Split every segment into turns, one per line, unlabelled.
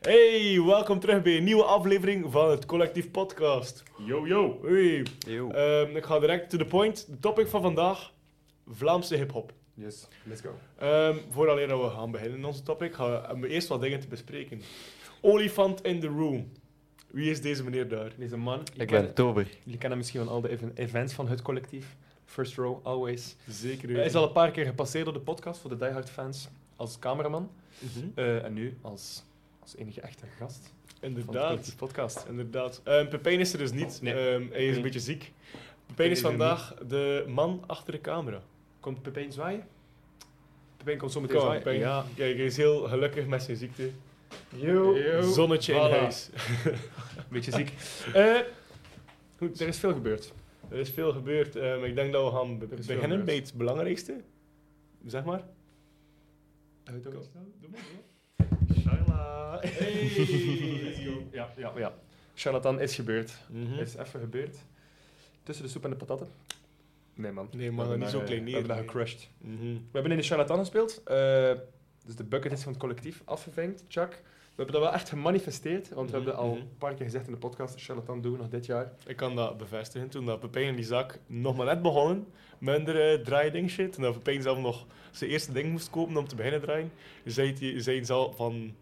Hey, welkom terug bij een nieuwe aflevering van het Collectief Podcast.
Yo, yo.
Hoi.
Yo.
Ehm, ik ga direct to the point. De topic van vandaag: Vlaamse hip-hop.
Yes, let's go.
Ehm vooraleer dat we gaan beginnen in onze topic, gaan we, hebben we eerst wat dingen te bespreken. Olifant in the room. Wie is deze meneer daar?
Deze man, je
Ik
ken-
ben Tober.
jullie kennen hem misschien van al de even- events van het collectief. First Row, always.
Zeker
Hij is al een paar keer gepasseerd door de podcast voor de diehard fans als cameraman.
Mhm.
Eh, en nu als, als enige echte gast van de
Inderdaad.
collectief podcast.
Inderdaad. Ehm, Pepijn is er dus niet.
Nee.
Ehm, hij is een
Nee.
beetje ziek. Pepijn
Pepijn
is
is er
vandaag de man achter de camera.
Komt Pepijn zwaaien? Pepijn komt zo meteen
Kom,
zwaaien.
Pepijn.
Ja.
Kijk, hij is heel gelukkig met zijn ziekte.
Yo.
Zonnetje in
Voilà.
huis.
Beetje ziek. Eh, goed, er is veel gebeurd.
Er is veel gebeurd. Ehm, ik denk dat we gaan be-
veel
beginnen
gebeurd.
bij het belangrijkste. Zeg maar.
Shaila.
Let's go.
Ja, ja, ja. Charlatan is gebeurd.
Mhm.
is even gebeurd. Tussen de soep en de patatten. Nee, man.
Nee,
We
man,
hebben
niet
daar,
zo
eh,
klein
We
neer.
hebben daar
Nee.
gecrushed.
Mhm.
We hebben in de charlatan gespeeld. eh, dus de bucket is van het collectief afgevinkt. Chuck. We hebben dat wel echt gemanifesteerd. Want we
Mhm,
hebben al
mhm.
een paar keer gezegd in de podcast. Charlatan doen we nog dit jaar.
Ik kan dat bevestigen. Toen dat Pepijn en die zak nog maar net begonnen met de draaiding shit, toen dat Pepijn zelf nog zijn eerste ding moest kopen om te beginnen draaien, zei, die, zei ze al van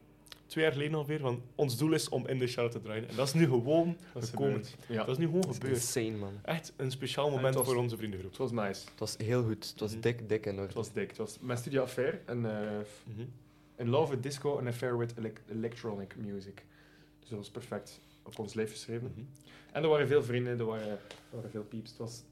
twee jaar geleden ongeveer, van ons doel is om in de charlotte te draaien. En dat is nu gewoon gekomen.
Ja.
Dat is nu gewoon
Dat is
gebeurd.
insane, man.
Echt een speciaal
En
moment
het was-
voor onze vriendengroep.
Het was nice.
Het was heel goed. Het was
Mhm.
dik, dik en orde.
Het was dik. Het was mijn studie affair. En eh, f-
Mhm.
in love with disco en affair with elec- electronic music. Dus dat was perfect op ons leven geschreven.
Mhm.
En er waren veel vrienden. Er waren, er waren veel pieps. Het was,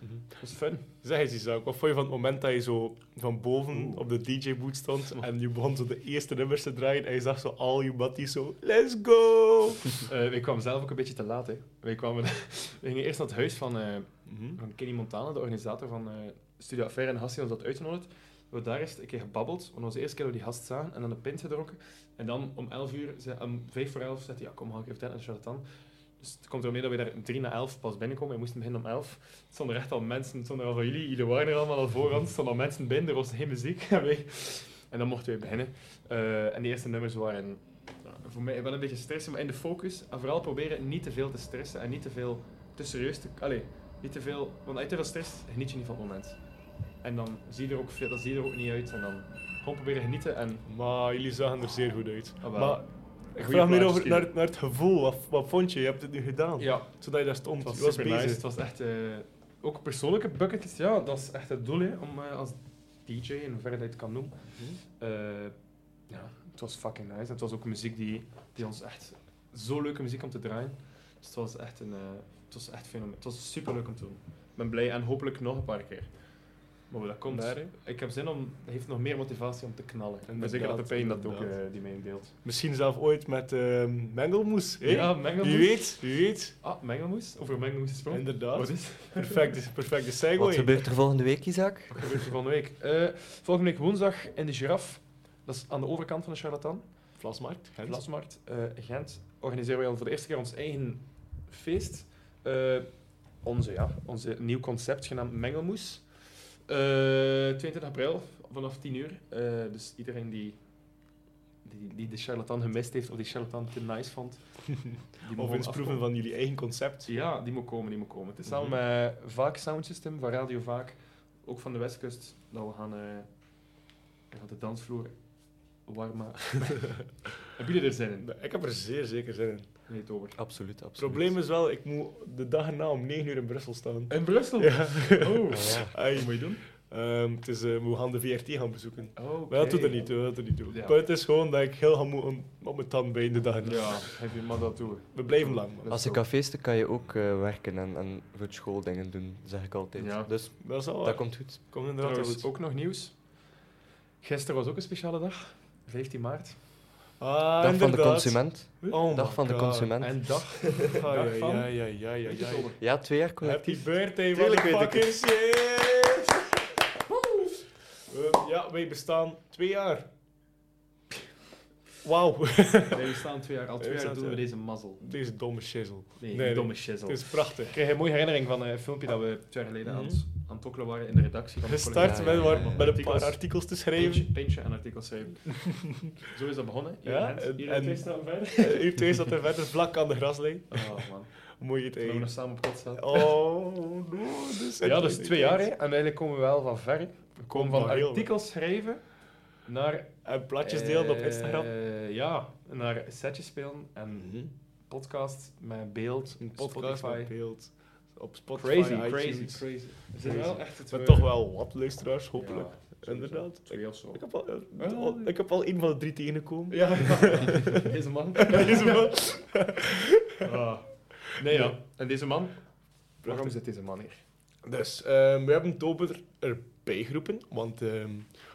Mhm.
het was fun.
Zeg eens, Isaac, wat vond je van het moment dat je zo van boven
Oeh.
op de DJ-boot stond en je begon zo de eerste nummers te draaien en je zag zo al je matties zo, let's go!
Eh ik kwam zelf ook een beetje te laat. Hè. Wij kwamen, we gingen eerst naar het huis van, eh,
Mhm.
van Kenny Montana, de organisator van eh Studio Affaire en Hassie, ons dat uitgenodigd. We hebben daar eerst een keer gebabbeld, want dat was de eerste keer dat we die gast zagen en dan de pint gedronken. En dan om 11 uur, zei- om 5 voor 11, zei hij: Ja, kom, ga ik even tenten en charlatan. Dus het komt erop neer dat we daar om 3 na 11 pas binnenkomen. We moesten beginnen om 11. Het stonden er echt al mensen, het stonden er al van jullie, jullie waren er allemaal al voor ons. Er stonden al mensen binnen, er was geen muziek. En, wij- en dan mochten we beginnen. Eh, en de eerste nummers waren ja, voor mij wel een beetje stressen, maar in de focus. En vooral proberen niet te veel te stressen en niet te veel te serieus te. Allee, niet te veel. Want als je te veel stress, geniet je niet van het moment. En dan zie je er ook, veel, dan zie je er ook niet uit. En dan gewoon proberen genieten. En
Maar jullie zagen er zeer goed uit.
Ah, wel.
maar ik
Goeie
vraag me
plaatjes
over,
kiezen.
naar, naar het gevoel. Wat, wat vond je? Je hebt het nu gedaan.
ja,
Zodat je daar stond.
het was
je was
super
bezig.
nice. Het was echt eh, ook persoonlijke bucketjes. Ja, dat is echt het doel hè, om eh, als DJ, in hoeverre dat je het kan noemen. eh, ja, het was fucking nice. Het was ook muziek die, die ons echt zo leuke muziek om te draaien. Dus het was echt een, eh, het was echt fenomen. Het was super leuk om te doen. Ik ben blij en hopelijk nog een paar keer. Maar hoe dat komt,
Daar, hè.
ik heb zin om, hij heeft nog meer motivatie om te knallen. En ik ben
Inderdaad,
zeker dat de pijn dat ook
inderdaad.
eh, die mee deelt.
Misschien zelf ooit met ehm mengelmoes. hè?
Ja, mengelmoes.
Wie weet, wie weet.
Ah, mengelmoes? Over mengelmoes gesproken? Wat
Inderdaad.
is?
Perfecte, perfecte segue.
Wat gebeurt er volgende week, Isaac?
Wat gebeurt er volgende week? Eh, volgende week woensdag in de Giraffe. Dat is aan de overkant van de charlatan.
Vlasmarkt. Gent.
Plasmarkt eh, Gent organiseren wij al voor de eerste keer ons eigen feest. Eh, onze, ja, onze nieuw concept genaamd Mengelmoes. Eh 22 april vanaf 10 uur. Eh, dus iedereen die, die, die de charlatan gemist heeft of die charlatan te nice vond, die
Of
gewoon
eens proeven
afkomen.
van jullie eigen concept.
Ja, die moet komen, die moet komen. Het is samen
Mhm.
met eh, Vaak Sound System van Radio Vaak, ook van de Westkust, dat we gaan, eh, we gaan de dansvloer warm maken. Hebben jullie er zin in?
Ik heb er zeer zeker zin in.
Nee, Tober.
Absoluut, absoluut.
Het probleem is wel, ik moet de dag erna om 9 uur in Brussel staan.
In Brussel?
Ja.
Oh.
Ja.
Ai.
Wat moet je doen?
Ehm, het is, eh, we gaan de VRT gaan bezoeken.
Oh,
Maar dat doet er niet toe, dat doet er niet toe.
Ja.
Het punt is gewoon dat ik heel gaan moeten op mijn tand bij de dag.
Ja, heb je maar dat toe.
We blijven lang, man.
Als je kan feesten, kan je ook eh, werken en, en voor school dingen doen, zeg ik altijd.
Ja.
Dus
Dat is al
dat komt goed.
Komt inderdaad wel
Trouwens,
goed.
ook nog nieuws. Gisteren was ook een speciale dag. 15 maart.
Ah,
Dag van de
inderdaad.
consument.
Oh my
Dag van de
God.
consument.
En dag.
Ah, ja,
Dag van-
ja, ja, ja, ja,
Weet je,
ja.
Tober?
Ja, twee jaar
Happy
collectief.
birthday,
Tuurlijk weet ik
motherfuckers. Yes! Ehm, ja, wij bestaan twee jaar. Wauw.
Nee, we staan twee jaar. Al twee
We staan
jaar doen we
twee-
deze mazzel.
Deze domme shizzle.
Nee,
Nee,
die domme
Het
shizzle.
is prachtig.
Ik kreeg een mooie herinnering van een filmpje dat we twee jaar geleden aan
Mhm.
het aan het tokkelen waren in de redactie. Van de
Gestart
Ja,
met,
ja,
waar-
ja, ja.
met een
Artikels.
paar artikels te
Pintje,
schrijven.
pintje en artikel schrijven. Zo is dat begonnen. Hier
Ja,
in Gent, hier
en-
in twee stappen verder.
Eh, Uur twee zat er verder vlak aan de graslijn.
Oh man,
Moet je het
we nog
eind.
samen op kot staan.
Oh, no, dus
Ja, dat is twee jaar, hè.
hè.
En eigenlijk komen we wel van ver. We komen van
nog heel
artikels schrijven naar...
En plaatjes deelden op
eh,
Instagram.
ja, naar setjes spelen en podcast met beeld,
Een podcast
Spotify.
met beeld. Op Spotify,
Crazy,
iTunes.
crazy, crazy. We zijn wel echt het
Maar toch wel wat luisteraars, hopelijk. Inderdaad.
Twee of zo.
Ik heb, al, eh,
Wel,
al- ik heb al één van de drie tegengekomen.
Ja, deze man.
Is het wel?
Ah. Nee, ja. En deze man? Waarom
Prachtig.
zit deze man hier?
Dus, ehm, we hebben Tober erbij geroepen, want ehm,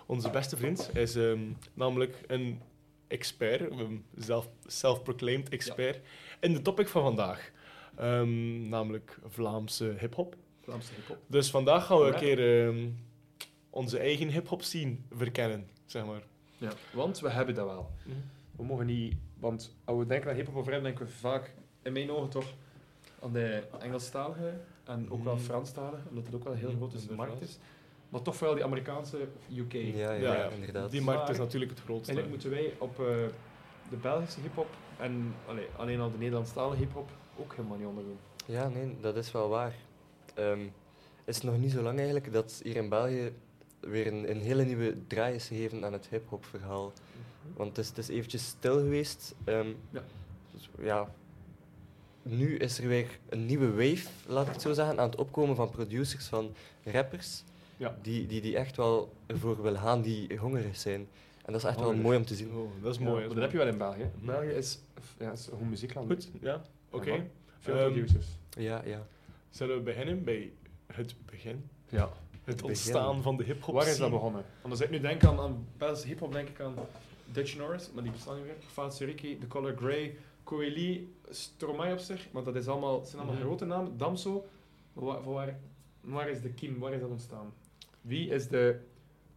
onze beste vriend is ehm, namelijk een expert, een zelf- self-proclaimed expert, in de topic van vandaag. Ehm, namelijk Vlaamse hip-hop.
Vlaamse hip-hop.
Dus vandaag gaan we een
Ja.
keer ehm, onze eigen hip-hop scene verkennen, zeg maar.
Ja, want we hebben dat wel.
Mhm.
We mogen niet... Want als we denken aan hip-hop of rap, denken we vaak, in mijn ogen toch, aan de Engelstalige en ook wel
Mm.
Franstalige, omdat het ook wel een heel
Mm,
grote
inderdaad.
markt is. Maar toch vooral die Amerikaanse UK.
Ja, ja,
Ja, ja.
inderdaad.
Die markt is
Maar-
natuurlijk het grootste.
Eigenlijk moeten wij op eh, de Belgische hip-hop en allee, alleen al de Nederlandstalige hip-hop ook helemaal niet onderdoen.
Ja, nee, dat is wel waar. Ehm, het is nog niet zo lang eigenlijk dat hier in België weer een, een hele nieuwe draai is gegeven aan het hip-hop verhaal.
Mhm.
Want het is, het is eventjes stil geweest. ehm,
Ja.
dus ja. Nu is er weer een nieuwe wave, laat ik het zo zeggen, aan het opkomen van producers, van rappers,
Ja.
die, die, die echt wel ervoor willen gaan, die hongerig zijn. En dat is echt wel
Hongerig.
mooi om te zien.
Oh, dat is
Ja,
mooi.
maar
hè.
dat heb je wel in België.
Mhm.
België is, ja, is gewoon muziekland.
Goed, ja, oké.
Ja, man. Veel
Ehm,
producers.
Ja, ja.
Zullen we beginnen bij het begin?
Ja.
Het
begin.
ontstaan van de hip-hop
Waar is dat
scene.
begonnen? Want als ik nu denk aan, aan Belgische hip-hop, denk ik aan Dutch Norris, maar die bestaan niet meer. Faat Suriki, The Color Grey, Coeli, Stromae op zich, want dat is allemaal, het zijn allemaal
Mhm.
grote namen. Damso, maar waar, van waar, waar is de kiem? Waar is dat ontstaan? Wie is de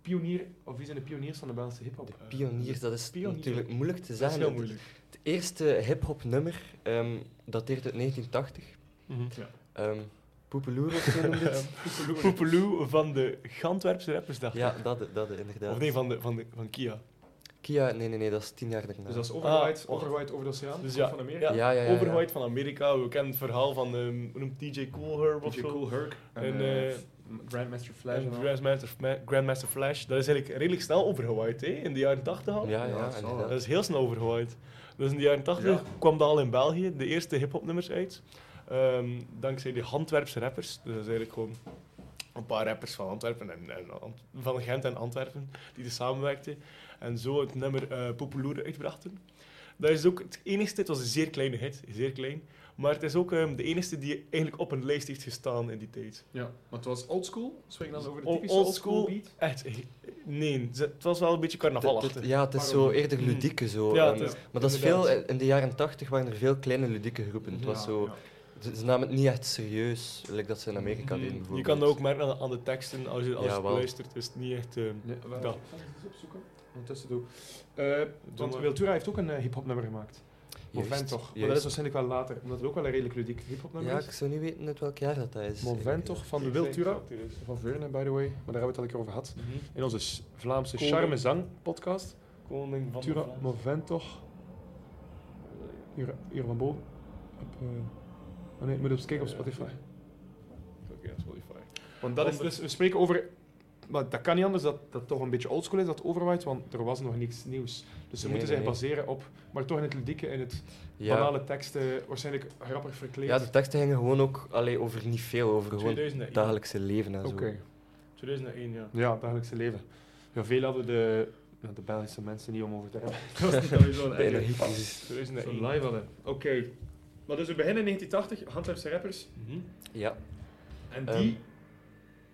pionier, of wie zijn de pioniers van de Belgische hip-hop?
De pioniers, dat is
pioniers.
natuurlijk moeilijk te
Eh, Dat is
zeggen.
heel moeilijk.
Het eerste hip-hop nummer ehm, dateert uit 1980. Ehm Poepeloer of zo noemde het.
Poepeloe Eh, van de Gantwerpse rappers, dacht
Ja,
ik.
dat, dat inderdaad.
Of nee, van, de, van, de, van Kia.
Kia, nee, nee, nee, dat is tien jaar daarna.
Dus dat is Overwhite,
Ah, oh.
Overwhite over de
Dus
oceaan, dus
ja,
van Amerika.
ja,
Ja, ja, ja, ja.
Overwhite van Amerika. We kennen het verhaal van, ehm, hoe noemt DJ Cool Herb of
DJ
zo?
Cool Herc en,
En,
eh,
eh,
Grandmaster Flash.
En
en al.
Grandmaster, Ma- Grandmaster Flash. Dat is eigenlijk redelijk snel overgewaaid, hè? In de jaren 80 al.
Ja,
Ja,
ja,
dat zal wel.
Dat
inderdaad.
is heel snel overgewaaid. Dus in de jaren 80
Ja.
kwam dat al in België, de eerste hip-hopnummers uit. Ehm, dankzij die Antwerpse rappers. Dus dat is eigenlijk gewoon een paar rappers van Antwerpen en, en Ant- van Gent en Antwerpen die er samenwerkten. En zo het nummer eh Populoer uitbrachten. Dat is ook het enigste, het was een zeer kleine hit, zeer klein. Maar het is ook ehm, de enige die eigenlijk op een lijst heeft gestaan in die tijd.
Ja, maar het was oldschool. Swing dan over de
Ol-
typische oldschool
oldschool.
beat.
Echt, eh, nee, ze- het was wel een beetje
Het- het-
carnavalachtig.
ja, het is zo
Waarom?
eerder
Mm.
ludieke zo.
Ja,
ehm,
het is-
maar dat is
inderdaad.
veel, eh, in de jaren 80 waren er veel kleine ludieke groepen. Het was
Ja,
zo,
ja.
ze, ze namen het niet echt serieus, like dat ze in Amerika
Mm,
doen
Je
bijvoorbeeld.
kan dat ook merken aan, aan de teksten, als je, als je
Ja,
het
wel.
luistert, is het niet echt... ehm,
Nee, we
Ja.
gaan eens opzoeken. Ondertussen doe. Eh want
maar.
Wiltura heeft ook een eh, hip-hop nummer gemaakt.
Juist,
Movent toch? Maar dat is
juist.
waarschijnlijk wel later, omdat het ook wel een redelijk ludiek hip-hop nummer
Ja, ik
is.
zou niet weten uit welk jaar dat, dat is.
Movent toch van de Wiltura. Van Veurne, by the way. Maar daar hebben we het al een keer over gehad.
Mhm.
In onze s- Vlaamse
Cool.
Charme Zang podcast.
Koning van
Tura,
de Vlaams.
Movent toch. Hier, hier van boven. Op, eh, oh nee, ik moet eens kijken op
Ja.
Spotify.
Oké, ja, Spotify.
Want dat is
Onder-
dus, we spreken over. Maar dat kan niet anders dat dat toch een beetje oldschool is, dat overwaait, want er was nog niks nieuws. Dus ze
Nee,
moeten
nee,
zich
nee.
baseren op, maar toch in het ludieke, in het
Ja,
banale teksten, waarschijnlijk grappig verkleed.
ja, de teksten gingen gewoon ook allee, over niet veel, over gewoon het
2001.
dagelijkse leven en zo.
Oké.
2001, ja.
Ja, dagelijkse leven. Ja, veel hadden de, ja, de Belgische mensen niet om over te hebben.
De energiecrisis.
2001.
Zo'n live hadden. Oké. Maar dus we beginnen in 1980, handwerkse rappers.
Mhm.
Ja,
En
Ehm,
die,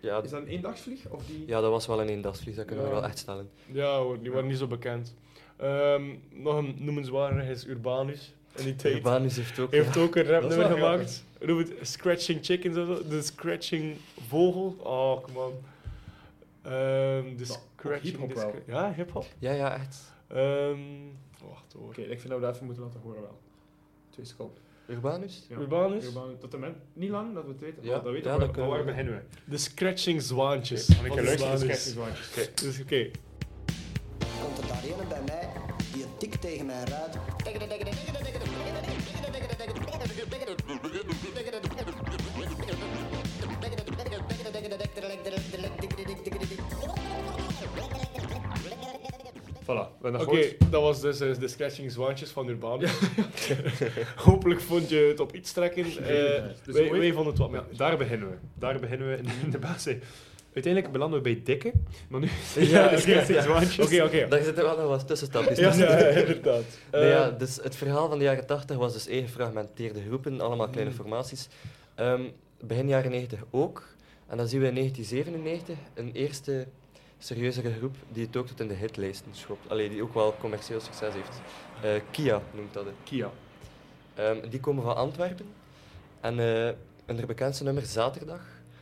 ja,
is dat een eendagsvlieg? Of die...
ja, dat was wel een eendagsvlieg, dat kunnen we
Ja.
wel echt stellen.
Ja hoor, die waren niet zo bekend. Ehm, nog een noemenswaardige is Urbanus. En die tape
Urbanus heeft ook...
heeft ook een
Dat is
rapnummer
wel
gemaakt. Noem het Scratching Chickens of zo. De Scratching Vogel. Oh, come on. Ehm, de
Nou, ook
Scratching...
hiphop
de
wel.
scra- ja, hiphop.
Ja, ja, echt.
Ehm, wacht hoor.
Oké, ik vind dat we dat even moeten laten horen wel. Twee seconden.
Urbanus?
Ja.
Urbanus?
Urbanus. Dat de men- niet lang dat we het weten.
Ja.
maar dat weten
Ja,
we.
dat
maar
kunnen
waar
we.
beginnen we?
De Scratching Zwaantjes.
Want ik
Van
heb luisteren
Zwanus.
naar Sketchy
Dus oké.
komt er daar ene bij mij die tikt tegen mijn ruit.
Voilà, we hebben dat
Oké,
gehoord.
dat was dus eh, de Scratching Zwaantjes van Urbanus. Hopelijk vond je het op iets trekken. Eh,
Dus
wij,
ooit-
wij vonden het wat
Ja,
meer.
daar beginnen we. Daar beginnen we in de, in de basis. Uiteindelijk belanden we bij dikke, maar nu
Ja,
de Sketchy
ja.
Zwaantjes.
Oké, oké.
Daar zitten wel nog wat tussenstapjes
Ja,
tussen.
ja, inderdaad.
Nee,
Eh,
ja, dus het verhaal van de jaren 80 was dus één gefragmenteerde groepen, allemaal kleine formaties. Ehm, begin jaren 90 ook. En dan zien we in 1997 een eerste serieuzere groep die het ook tot in de hitlijsten schopt. Allee, die ook wel commercieel succes heeft. Eh, Kia noemt dat. het.
Kia.
Ehm, die komen van Antwerpen. En eh hun bekendste nummer, Zaterdag,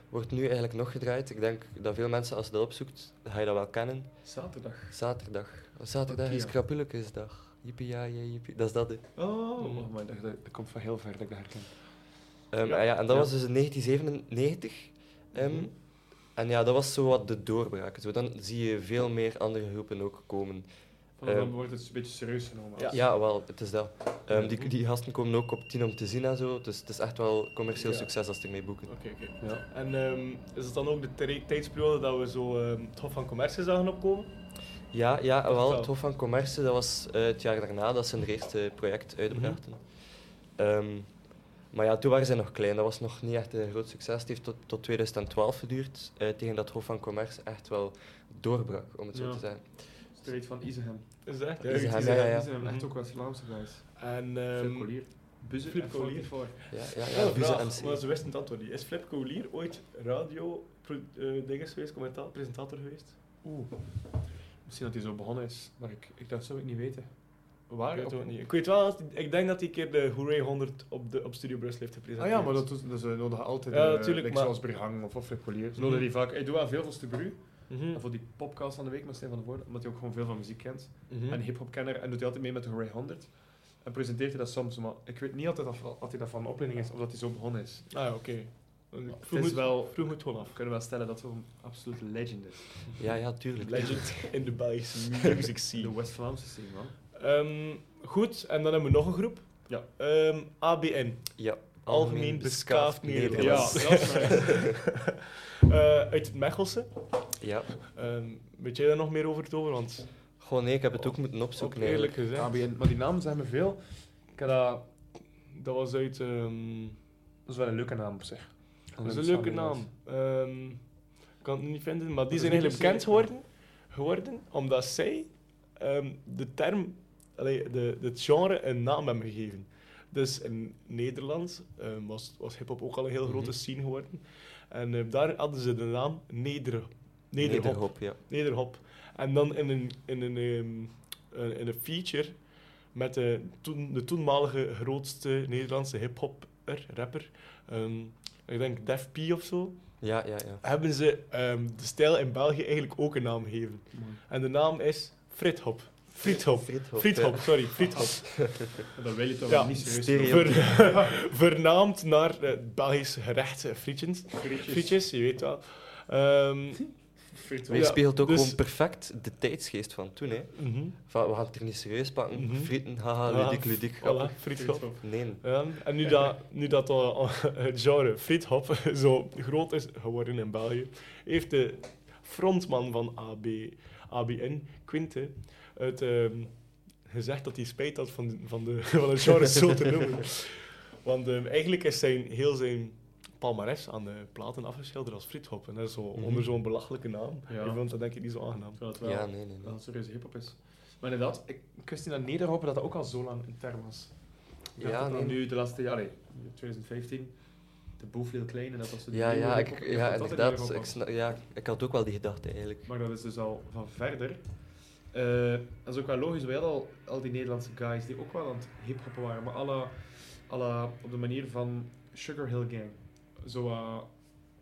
wordt nu eigenlijk nog gedraaid. Ik denk dat veel mensen, als je dat opzoekt, ga je dat wel kennen.
Zaterdag.
Zaterdag. Zaterdag is
Kia.
krapulekesdag. Jippie, ja, ja, jippie. Dat is dat, hè.
Oh, oh maar dat, dat komt van heel ver dat ik dat herken.
Ehm,
Ja.
en, ja, en dat
Ja.
was dus in 1997. Ehm,
Mhm.
En ja, dat was zo wat de doorbraak. Zo, dan zie je veel meer andere groepen ook komen.
Vanaf dan
Ehm.
wordt het een beetje serieus genomen.
Ja,
als-
wel, het is dat. Ehm,
Mhm.
die, die gasten komen ook op tien om te zien en zo. Dus het is echt wel commercieel
Ja.
succes als ze ermee boeken.
Oké, oké.
Ja.
En ehm, is het dan ook de tij- tijdsperiode dat we zo ehm, het Hof van Commercie zagen opkomen?
Ja, ja wel,
Vertel.
het Hof van Commerce, dat was eh, het jaar daarna dat ze hun eerste project
Mhm.
uitbrachten. Ehm, maar ja, toen waren ze nog klein, dat was nog niet echt een groot succes. Het heeft tot, tot 2012 geduurd, eh, tegen dat het Hof van Commerce echt wel doorbrak, om het zo
Ja.
te zeggen.
Street van Izehem.
Is dat echt?
Is
Ja,
hij-
is
ja,
hij-
ja, ja.
Izehem, echt
Mhm.
ook wel Vlaamse guys.
En
Flip
ehm
Collier. Buzen
Flip
en
Collier.
44.
Ja, ja,
ja,
ja,
een
Buze
vraag,
MC.
Oh, maar ze wisten het antwoord niet. Is Flip Colier ooit radio eh dinges geweest, commentaar, presentator geweest?
Oeh. Misschien dat hij zo begonnen is, maar ik, ik, dat zou ik niet weten. Waar?
ik weet het
Op- Ah
ook niet. Ik weet wel, dat- ik denk dat hij een keer de Hooray 100 op, de, op Studio Brussel heeft
Ah
gepresenteerd.
ja, maar dat, is- dat ze nodigen altijd
Ja,
eh,
natuurlijk,
like
maar-
zoals Brihang of, of Flip Collier. Ze
Mhm.
nodigen die vaak. Ik doe wel veel voor Stubru.
Mhm.
En voor die podcast van de week met Stijn van de Voorde, omdat hij ook gewoon veel van muziek kent.
Mhm.
En hip-hop kenner en doet hij altijd mee met de Hooray 100. En presenteert hij dat soms, maar ik weet niet altijd of, of hij dat van een opleiding is of dat hij zo begonnen is.
Ah ja, oké. Ik
Het
Vroeg
is
het
wel-
wel. Vroeg het gewoon
We
af.
kunnen wel stellen dat hij een absolute legend is.
Ja, ja, tuurlijk.
Legend in de Belgische music
De
scene.
West-Vlaamse scene, man.
Ehm, goed, en dan hebben we nog een groep.
Ja.
Ehm, ABN.
Ja,
Algemeen Beskaafd Nederlands.
Ja, dat is
Eh, uit het Mechelse.
Ja.
Ehm, weet jij daar nog meer over, Tover? Want
Gewoon nee, ik heb het ook moeten
ook
opzoeken
eerlijk
eigenlijk.
gezegd,
ABN. Maar die namen zijn me veel. Ik heb dat,
dat was uit... ehm,
dat is wel een leuke naam op zich.
dat is een leuke naam. Ehm, ik kan het nu niet vinden, maar die
is
zijn
niet
eigenlijk
per
bekend
se-
geworden, geworden omdat zij ehm, de term, allee, de, het genre een naam hebben gegeven. Dus in Nederland ehm, was, was hip-hop ook al een heel
Mhm.
grote scene geworden. En eh, daar hadden ze de naam Neder, Nederhop.
Nederhop, ja.
Nederhop. En dan in een, in een, ehm, een- in een feature met de, toen, de toenmalige grootste Nederlandse hip-hopper, rapper, ehm, ik denk Def P of zo,
Ja, ja, ja.
hebben ze ehm, de stijl in België eigenlijk ook een naam gegeven. En de naam is Frithop. Frithop.
Friethop.
Frithop, sorry, Frithop.
Dat wil je toch
Ja,
wel niet serieus
stereo.
nemen.
Ver, vernaamd naar het Belgisch gerecht eh, frietjes. Frietjes, je weet wel. Ehm,
Maar
Frietjes.
je
Ja,
speelt ook
dus-
gewoon perfect de tijdsgeest van toen, hè.
mhm.
Van, we gaan het er niet serieus pakken.
Mhm.
Frieten, haha,
Ah,
ludiek, ludiek.
Voilà, Frithop.
Friethop.
Nee.
Ja, Ehm, en nu dat, nu dat al- het genre Friethop zo groot is geworden in België, heeft de frontman van AB, ABN, Quinte, het, ehm, gezegd dat hij spijt had van, van, de, van het genre zo te noemen. Want ehm, eigenlijk is zijn, heel zijn palmares aan de platen afgeschilderd als Friethop. En dat is zo,
Mhm.
onder zo'n belachelijke naam.
Ja.
Ik vond dat denk ik niet zo aangenaam.
Terwijl het wel-
Ja, nee, nee,
wel
nee.
een serieuze hip-hop is. Maar inderdaad, ik, ik wist niet dat Nederhoppen dat dat ook al zo lang een term was. Ik dacht
Ja,
dat dat
nee.
nu de laatste jaren, 2015, de boef Lil Klein en dat was de
Ja,
nieuwe
ja,
hip-hop.
ik,
dacht
ja
dat dat
inderdaad.
Nederhop
Ik,
was.
sna- ja, ik had ook wel die gedachte eigenlijk.
Maar dat is dus al van verder. Eh, dat is ook wel logisch. We hadden al, al die Nederlandse guys die ook wel aan het hiphoppen waren, maar alle, alle op de manier van Sugar Hill Gang. Zo eh,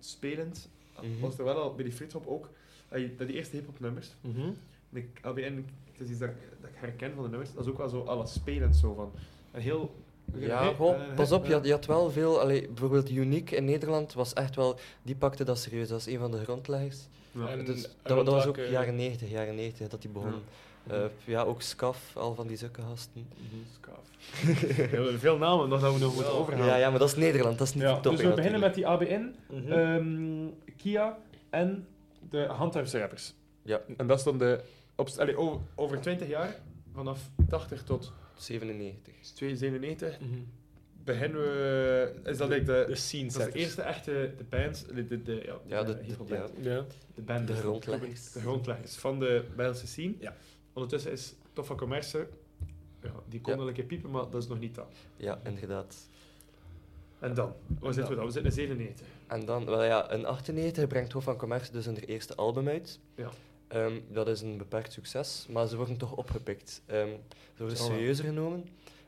spelend.
Mhm.
Was er wel al bij die frithop ook. Dat die- dat die eerste hiphop nummers.
Mhm.
De ABN, het is iets dat, ik- dat ik herken van de nummers. Dat is ook wel zo alles spelend zo van. Een heel
Ja, goh,
eh,
pas op, je had, je had wel veel. Allee, bijvoorbeeld Unique in Nederland was echt wel. Die pakte dat serieus. Dat is een van de grondleggers.
En eh,
dus dat,
rond
dat was ook
welke-
jaren 90, jaren 90 dat die
Hmm.
begon. Eh, ja, ook Scaf, al van die zulke gasten.
We hebben veel namen nog dat we nog moeten
Ja.
overhalen.
Ja, ja, maar dat is Nederland, dat is niet
Ja,
de Hm. top.
dus we beginnen met die ABN,
Mhm.
ehm, Kia en de handhafse rappers.
Ja.
En dat is dan de... Op, allee, over, over 20 jaar, vanaf 80 tot
97.
97, beginnen we... Is dat eigenlijk de...
Mhm. De scene
Dat is de
setters.
eerste echte de band, de, de, de, ja,
Ja, de-
eh, hiphop
de- ja.
band.
Ja.
de band
De
is-
grondleggers.
De grondleggers van de Belgische scene.
Ja.
Ondertussen is Toffa Commerce, ja, die kon
Ja.
wel een keer piepen, maar dat is nog niet dat.
Ja, inderdaad.
En dan? Waar zitten we dan? We zitten in 97.
En dan, wel ja, in 98 brengt Hof van Commerce dus hun eerste album uit.
Ja.
Ehm, dat is een beperkt succes, maar ze worden toch opgepikt. Ehm, ze worden
Oh, wel.
serieuzer genomen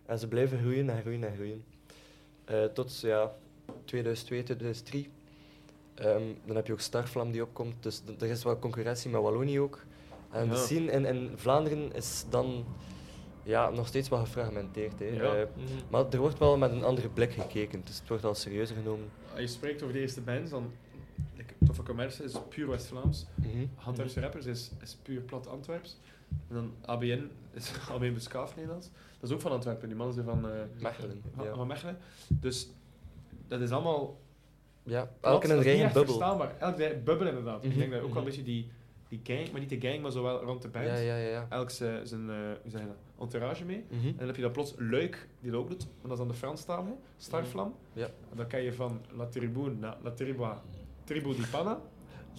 en ze blijven groeien en groeien en groeien. Eh, tot ja, 2002, 2003. Ehm, dan heb je ook Starvlam die opkomt, dus d- er is wel concurrentie met Wallonië ook. En de
Ja.
scene in, in Vlaanderen is dan ja, nog steeds wel gefragmenteerd. Hè.
Ja.
Eh, maar er wordt wel met een andere blik gekeken, dus het wordt al serieuzer genomen.
Als Ah, je spreekt over de eerste bands, dan... like, Toffa Commerce is puur West-Vlaams.
Mhm.
Handwerkse Rappers is, is puur plat Antwerps. En dan ABN is ABN Beskaaf Nederlands. Dat is ook van Antwerpen, die mannen zijn van, eh,
Mechelen.
van,
Ja,
van Mechelen. Dus dat is allemaal
ja
plat,
elk in een
dat is niet
eigen
echt
bubbel.
Verstaanbaar. Elk in een eigen bubbel inderdaad. Ik
Mhm.
denk dat ook wel een beetje die, die gang, maar niet de gang, maar zo wel rond de band.
Ja, ja, ja. ja.
Elk zijn, zijn, eh, hoe zeg je dat, entourage mee.
Mhm.
En dan heb je dan plots Luik, die dat ook doet, maar dat is dan de Franstalige, Starvlam.
Ja.
En dan kan je van La Tribune naar La Triba, Tribu di Panna.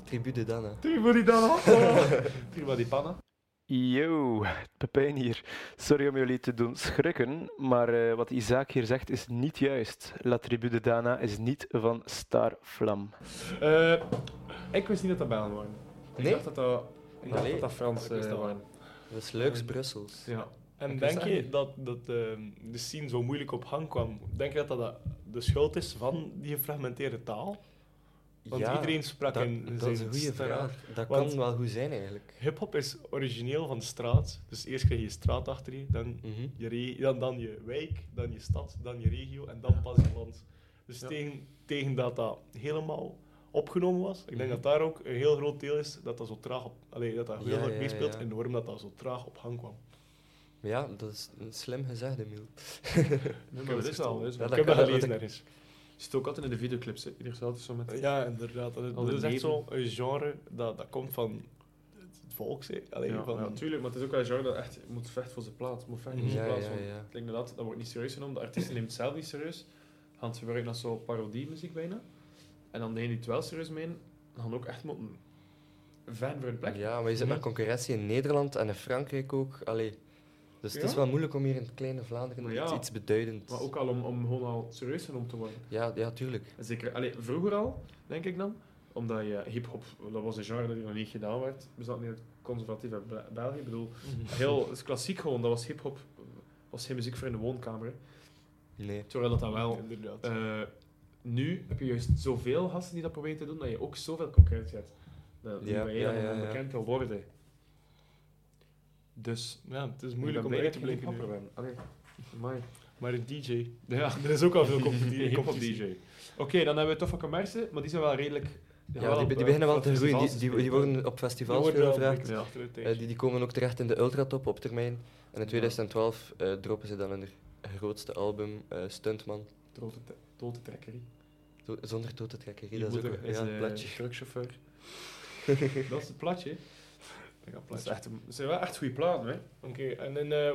Tribute dan, hè.
Tribu di Panna! Oh. Tribu di Panna.
Yo, Pepijn hier. Sorry om jullie te doen schrikken, maar eh, wat Isaac hier zegt is niet juist. La Tribu de Dana is niet van Star Flam.
Eh, ik wist niet dat dat Bellen waren. Ik
Nee?
dacht dat dat, ik dacht
Allee.
dat, dat Frans
Ik wist
eh,
dat wel.
waren.
Dat is leuks Brussels.
Ja.
En
Ik wist
denk
dat
je
niet.
dat, dat ehm, de scene zo moeilijk op gang kwam? Denk je dat dat de schuld is van die gefragmenteerde taal? Want iedereen sprak
dat,
in
dat
zijn
is een goede
straat.
vraag. Dat
Want-
kan wel goed zijn, eigenlijk.
Hip-hop is origineel van de straat. Dus eerst krijg je je straat achter je, dan
Mhm.
je, re- dan, dan je wijk, dan je stad, dan je regio en dan pas je land. Dus
Ja.
tegen, tegen dat dat helemaal opgenomen was,
Mhm.
ik denk dat daar ook een heel groot deel is dat dat zo traag op, allee, dat dat heel
Ja,
hard
ja,
meespeelt
ja.
en waarom dat dat zo traag op gang kwam.
Ja, dat is een slim gezegd, Emiel.
Nee,
heb
maar dat
het
is al. Dat is
Ja,
al.
ik heb dat
kan- dat-
gelezen
dat-
ergens.
Je ziet ook altijd in de videoclips, hè. ieder zelf is zo met...
Ja, inderdaad. Dat,
Al
dat is
de
echt
leven.
zo'n genre dat, dat komt van het volk. hè. Allee,
Ja,
van,
ja, natuurlijk, maar het is ook wel een genre dat echt moet vechten voor zijn plaats. Moet vechten voor
Ja,
zijn plaats.
ja,
want
ja.
Ik denk dat dat wordt niet serieus genomen. De artiest neemt het zelf niet serieus. Hans gebruikt dat zo parodie-muziek bijna. En dan degene die het wel serieus meent, dan gaan ook echt moeten fan voor een plek.
Ja, maar je zit
Mhm.
met concurrentie in Nederland en in Frankrijk ook. Allee. Dus het is
Ja?
wel moeilijk om hier in het kleine Vlaanderen
Maar ja.
iets, iets beduidends...
Maar ook al om, om gewoon al serieus genomen te worden.
Ja, ja, tuurlijk.
En zeker, allee, vroeger al, denk ik dan, omdat je hip-hop, dat was een genre dat hier nog niet gedaan werd. We zaten in het conservatieve Bel- België. Ik bedoel,
Mhm.
heel het is klassiek gewoon, dat was hip-hop, was geen muziek voor in de woonkamer. hè.
Nee.
Terwijl dat dan
Ja,
wel
inderdaad.
Eh, nu heb je juist zoveel gasten die dat proberen te doen, dat je ook zoveel concurrentie hebt. Dat
Ja,
ja, ben je
ja,
dan
ja, ja.
bekend kan worden. Dus
ja, het is
ik
moeilijk
ben
om
blij
erin
dat
te
ik geen
blijven.
hip-hopper
nu.
ben. Allee, amai.
Maar een DJ,
Ja,
er is ook al veel
een
competitie.
hip-hop
competitie.
DJ. Oké, dan hebben we toffe commercie, maar die zijn wel redelijk. gaan
Ja, die, be- die
eh,
beginnen wel te
festivals
groeien. Die, die,
spelen.
die worden op
Die
festivals
worden
veel
wel
gevraagd.
een beetje
Ja.
achteruit,
Eh,
denk ik.
die, die komen ook terecht in de Ultratop op termijn. En in 2012 eh, droppen ze dan hun grootste album, eh, Stuntman.
Trote te- Trote trekkerie.
Zo- zonder tot het gekkerie,
Je
dat is ook
moeder
een
is eh,
ja,
een
platje.
truckchauffeur. dat is het platje. Dat, is echt een- dat zijn wel echt goede platen, hè?
Oké, en in eh,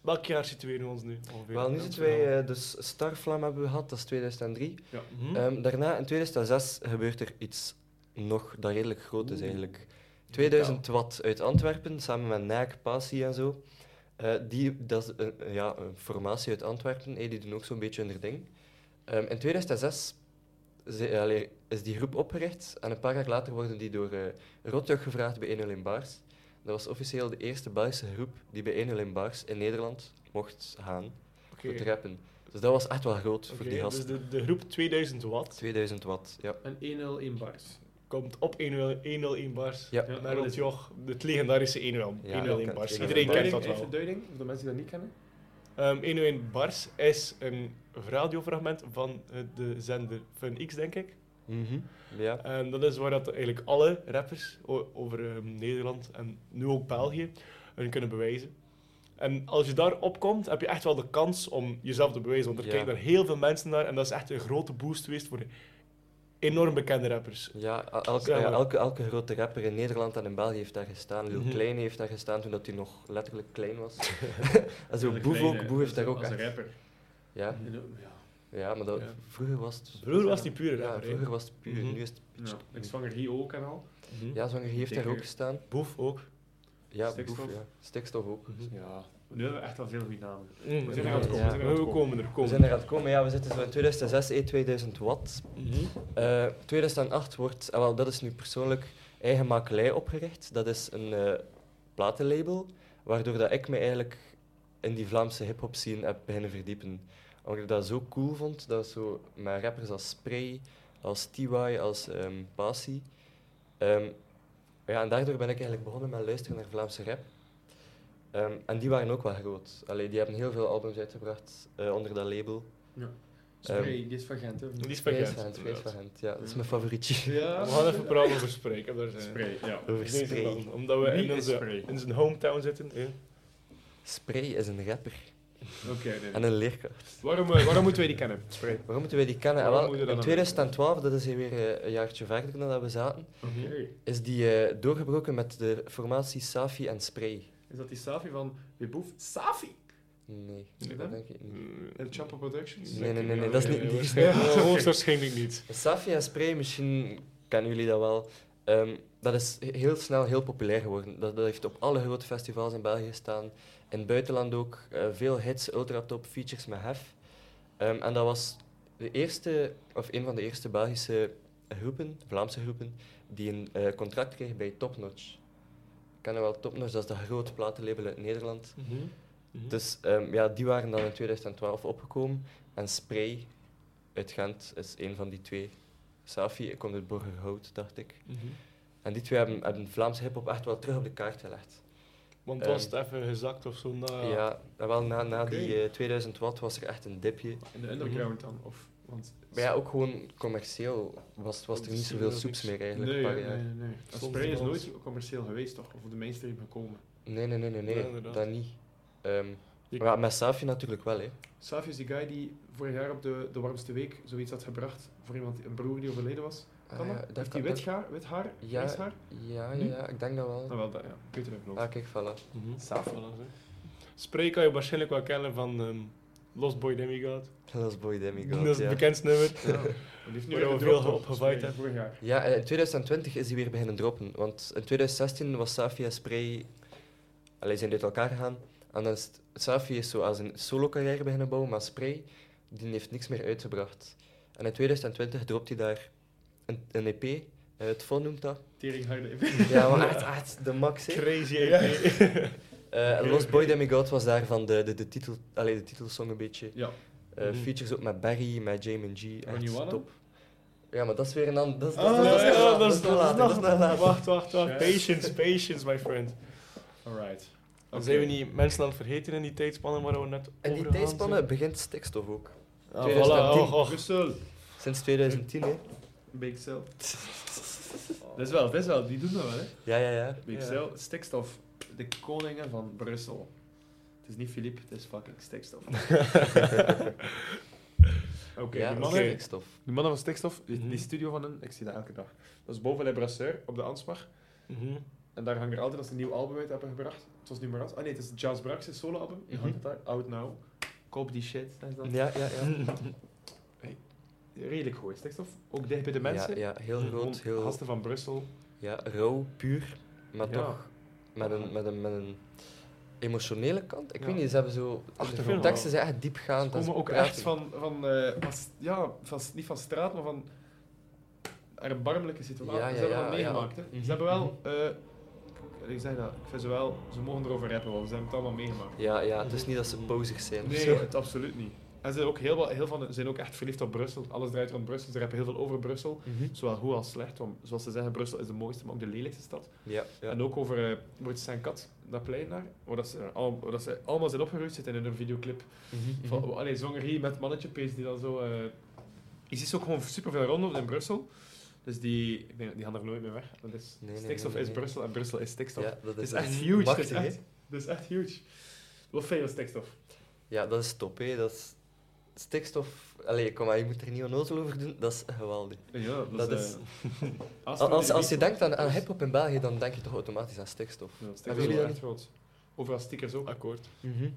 welk jaar situeren we ons nu ongeveer?
Wel, nu zitten wij, eh, dus Starflam hebben we gehad, dat is 2003.
eh,
Mhm.
Ehm, daarna, in 2006, gebeurt er iets nog dat redelijk groot is eigenlijk. 2000 Watt uit Antwerpen, samen met NAC, Passie en zo. Eh, die, dat is een- een- ja, een formatie uit Antwerpen, eh, die doen ook zo'n beetje hun ding. Ehm, in 2006 ze- allee, is die groep opgericht en een paar jaar later worden die door eh Rotjoch gevraagd bij 1 in Baars. Dat was officieel de eerste Belgische groep die bij 1 in Baars in Nederland mocht gaan
Oké.
voor het rappen. Dus dat was echt wel groot
Oké,
voor die gasten.
dus de, de groep 2000 watt
2000 watt, ja.
Een 101 bars.
komt op 101 bars.
Ja.
Ja,
Naar
dat
het
is-
joch, het legendarische 101
Ja, dat
101
kent
bars.
iedereen.
Iedereen
Duiding,
kent dat wel.
Even duiding, voor de mensen die dat niet kennen.
Ehm 101 Bars is een radiofragment van eh, de zender Fun X, denk ik.
Ja.
En dat is waar dat eigenlijk alle rappers o- over ehm, Nederland en nu ook België hun kunnen bewijzen. En als je daar opkomt, heb je echt wel de kans om jezelf te bewijzen. Want er
Ja.
kijken daar heel veel mensen naar en dat is echt een grote boost geweest voor enorm bekende rappers.
Ja, el- elke,
Ja,
ja,
maar-
elke, elke grote rapper in Nederland en in België heeft daar gestaan. Lil
Mhm.
Kleine heeft daar gestaan toen dat hij nog letterlijk klein was. en zo,
Lil
Boef
Kleine,
ook, Boef heeft daar ook
Als een
echt-
rapper.
Ja,
Ja.
ja maar dat,
Ja.
vroeger was het...
Vroeger was die pure
Ja,
rapper. hè.
vroeger was het puur,
Mhm.
nu is het...
Ja. Ik zwanger hier ook en al.
Mhm.
Ja, Zwanger heeft daar
Dikker.
ook gestaan.
Boef ook.
Ja,
Stikstof.
Boef, ja. Stikstof ook.
Mhm.
Ja. Nu hebben we echt al veel goede namen.
Ehm,
We zijn er
ja,
aan het komen. we
ja.
zijn er aan het komen. er
We
komen.
zijn er aan het komen, ja, we zitten zo in 2006, e 2000 watt.
Mhm.
Eh, 2008 wordt, ah, wel, dat is nu persoonlijk eigen makelij opgericht. Dat is een eh, platenlabel, waardoor dat ik me eigenlijk in die Vlaamse hip-hop scene heb beginnen verdiepen. Omdat ik dat zo cool vond, dat zo met rappers als Spray, als T.Y., als ehm Pasi. Ehm, ja, en daardoor ben ik eigenlijk begonnen met luisteren naar Vlaamse rap. Ehm, en die waren ook wel groot. Allee, die hebben heel veel albums uitgebracht eh, onder dat label.
Spray, die is van Gent, hè?
Die is van
Vrees
Gent,
van Gent, Vrees
inderdaad.
van Gent. Ja, dat is mijn favorietje.
We
Ja.
gaan even praten over spreken. Daar zijn
Spray, ja.
Over
Deze
Spray.
man, Omdat we
Wie
in,
is
onze,
Spray?
in zijn hometown zitten. hè.
Spray is een rapper
Oké, nee.
en een leerkracht.
Waarom, eh, waarom moeten wij die kennen? Spray.
Waarom moeten wij die kennen?
Waarom
Ah, wel,
moet je dat
in
dan
2012, dat is hier weer eh, een jaartje verder dan dat we zaten,
Oké.
is die eh, doorgebroken met de formatie Safi en Spray.
Is dat die Safi van Weboef? Safi!
Nee,
Nee,
dat
hè?
denk ik niet.
El Chapo Productions?
Mhm. Nee, nee, nee, nee, dat is niet-
Mm. Nee,
die is
waarschijnlijk-
niet-
Ja, Hoogstwaarschijnlijk niet.
Safi en Spray, misschien kennen jullie dat wel. Ehm, dat is he- heel snel heel populair geworden. Dat, dat heeft op alle grote festivals in België gestaan. In het buitenland ook. eh, veel hits, ultratop, features met hef. Ehm, en dat was de eerste, of een van de eerste Belgische groepen, Vlaamse groepen, die een eh, contract kreeg bij Topnotch. Ik ken wel Topnotch, dat is dat grote platenlabel uit Nederland.
Mhm.
Dus ehm, ja, die waren dan in 2012 opgekomen. En Spray uit Gent is een van die twee. Safi komt uit Borgerhout, dacht ik.
Mhm.
En die twee hebben, hebben Vlaamse hip-hop echt wel terug op de kaart gelegd.
Want
Ehm.
was het even gezakt of zo? Nou, ja.
Ja, en wel na, na die
Oké.
eh, 2000 watt was er echt een dipje.
In de underground dan? Of, want
Maar ja, ook gewoon commercieel was, was er niet zoveel soeps meer eigenlijk.
nee,
een paar
nee,
jaar.
nee, nee, nee.
Soms
Spray is
wel
nooit commercieel geweest, toch? Of op de mainstream gekomen.
nee, nee, nee, nee,
Ja,
nee,
inderdaad.
dat niet. Ehm,
Je-
maar ja, met Safi natuurlijk wel, hè.
Safi is die guy die vorig jaar op de, de warmste week zoiets had gebracht voor iemand, een broer die overleden was. Kan
Ah, ja,
dat?
dat
Heeft die
kan-
wit, haar, wit haar?
Ja.
grijs haar?
Ja,
Nu?
ja, ik denk dat
Ah,
wel.
wel, dat, ja. Ik weet het even
Ah, kijk, voilà.
Mhm.
Safi.
Spray kan je waarschijnlijk wel kennen van ehm, Lost Boy Demigod.
Dat is Boy Demigod,
Dat is het
ja.
bekendste nummer.
Ja. Die heeft nu
Waar
weer
we
gedropt,
veel
toch?
opgevaaid
Spray, Vorig jaar.
Ja, eh, in 2020 is hij weer beginnen droppen. Want in 2016 was Safi en Spray... Allee, zijn uit elkaar gegaan. En dan is het- Safi is zo aan zijn solo-carrière beginnen bouwen, maar Spray die heeft niks meer uitgebracht. En in 2020 dropt hij daar een, een EP. eh, het Vol noemt dat.
Tering harde
Ja, maar echt, echt de max, hè.
Crazy EP.
Eh, en Lost Boy Demigod was daarvan de, de, de, titel, allee, de titelsong een beetje.
Ja.
Eh,
Mhm.
Features ook met Barry, met Jamin G.
When you
Echt
wanna?
top. Ja, maar dat is weer een ander... Dat is-
Ah,
dat is- dat is
ja,
nog later,
dat is-
dat is nog later, dat is nog later.
Wacht, wacht, wacht.
Ja.
Patience, patience, my friend.
Alright.
Dan
Oké.
zijn we niet mensen aan het vergeten in die tijdspannen waar we net over
In die
gegaan
tijdspanne
zijn.
begint stikstof ook.
Ah,
2010.
voilà. Och, och.
Brussel.
Sinds 2010, hè?
Big Cell. Dat is wel, dat is wel. Die doen dat wel, hè.
Ja, ja, ja.
Big
Ja.
Cell, stikstof. De koningen van Brussel. Het is niet Philippe, het is fucking stikstof. Oké,
ja,
die,
dat is
mannen,
stikstof.
die mannen van stikstof, die, die
Mhm.
studio van hen, ik zie dat elke dag. Dat is boven Le Brasseur, op de Ansbach.
Mhm.
En daar hangt er altijd als ze een nieuw album uit hebben gebracht. Het was nu maar als. Ah nee, het is Jazz Brax' solo-album. Je
Mhm.
hangt het daar, Out Now. Koop die shit. Dat is dan
Ja, ja, ja.
redelijk goed, hè, stikstof. Ook dicht bij de mensen.
Ja, ja, heel
Gewoon
groot, heel...
Gasten van Brussel.
Ja, rauw, puur, maar
Ja.
toch met een, met een, met een emotionele kant. Ik
Ja.
weet niet, ze hebben zo...
Achtergrond.
De teksten zijn echt diepgaand.
Ze
dat is
komen ook
prachtig.
echt van, van, eh, van s- ja, van, s- niet van straat, maar van erbarmelijke situaties.
Ja, ja,
ze hebben
ja,
dat
ja.
meegemaakt. hè.
Mhm,
Ze hebben wel, eh, ik zeg dat, ik vind ze wel, ze mogen erover rappen, want ze hebben het allemaal meegemaakt.
Ja, ja, het is niet dat ze posers zijn. of
Nee,
zo.
het absoluut niet. En ze zijn ook, heel, wel- heel van, ze zijn ook echt verliefd op Brussel. Alles draait rond Brussel. Ze rappen heel veel over Brussel.
Mhm.
Zowel goed als slecht. Want zoals ze zeggen, Brussel is de mooiste, maar ook de lelijkste stad.
Ja, ja.
En ook over eh Moritz zijn kat. dat plein daar, waar, dat ze, al, waar dat ze allemaal zijn opgeruimd zitten in hun videoclip.
Mhm.
Van, oh, allee, zongerie met mannetjepees die dan zo... eh je ziet ze ook gewoon superveel rondom in Brussel. Dus die, ik denk, dat- die gaan er nooit meer weg. Dat is,
Nee, nee,
stikstof
nee, nee,
is
nee.
Brussel en Brussel is stikstof.
Ja, dat
Het
is
is echt
echt
huge. Het is
machtig, hè?
echt, het is echt huge. Wat veel stikstof.
Ja, dat is top, hè. Dat is stikstof... Allee, kom maar, je moet er niet onnozel over doen. Dat is geweldig.
Ja, eh,
Dat is...
als,
Als, als, als je denkt aan, aan hip-hop in België, dan denk je toch automatisch aan stikstof.
Ja, stikstof
Hebben
is
jullie Ah.
wel
dat
echt groot. Overal stickers ook.
Akkoord. Mhm.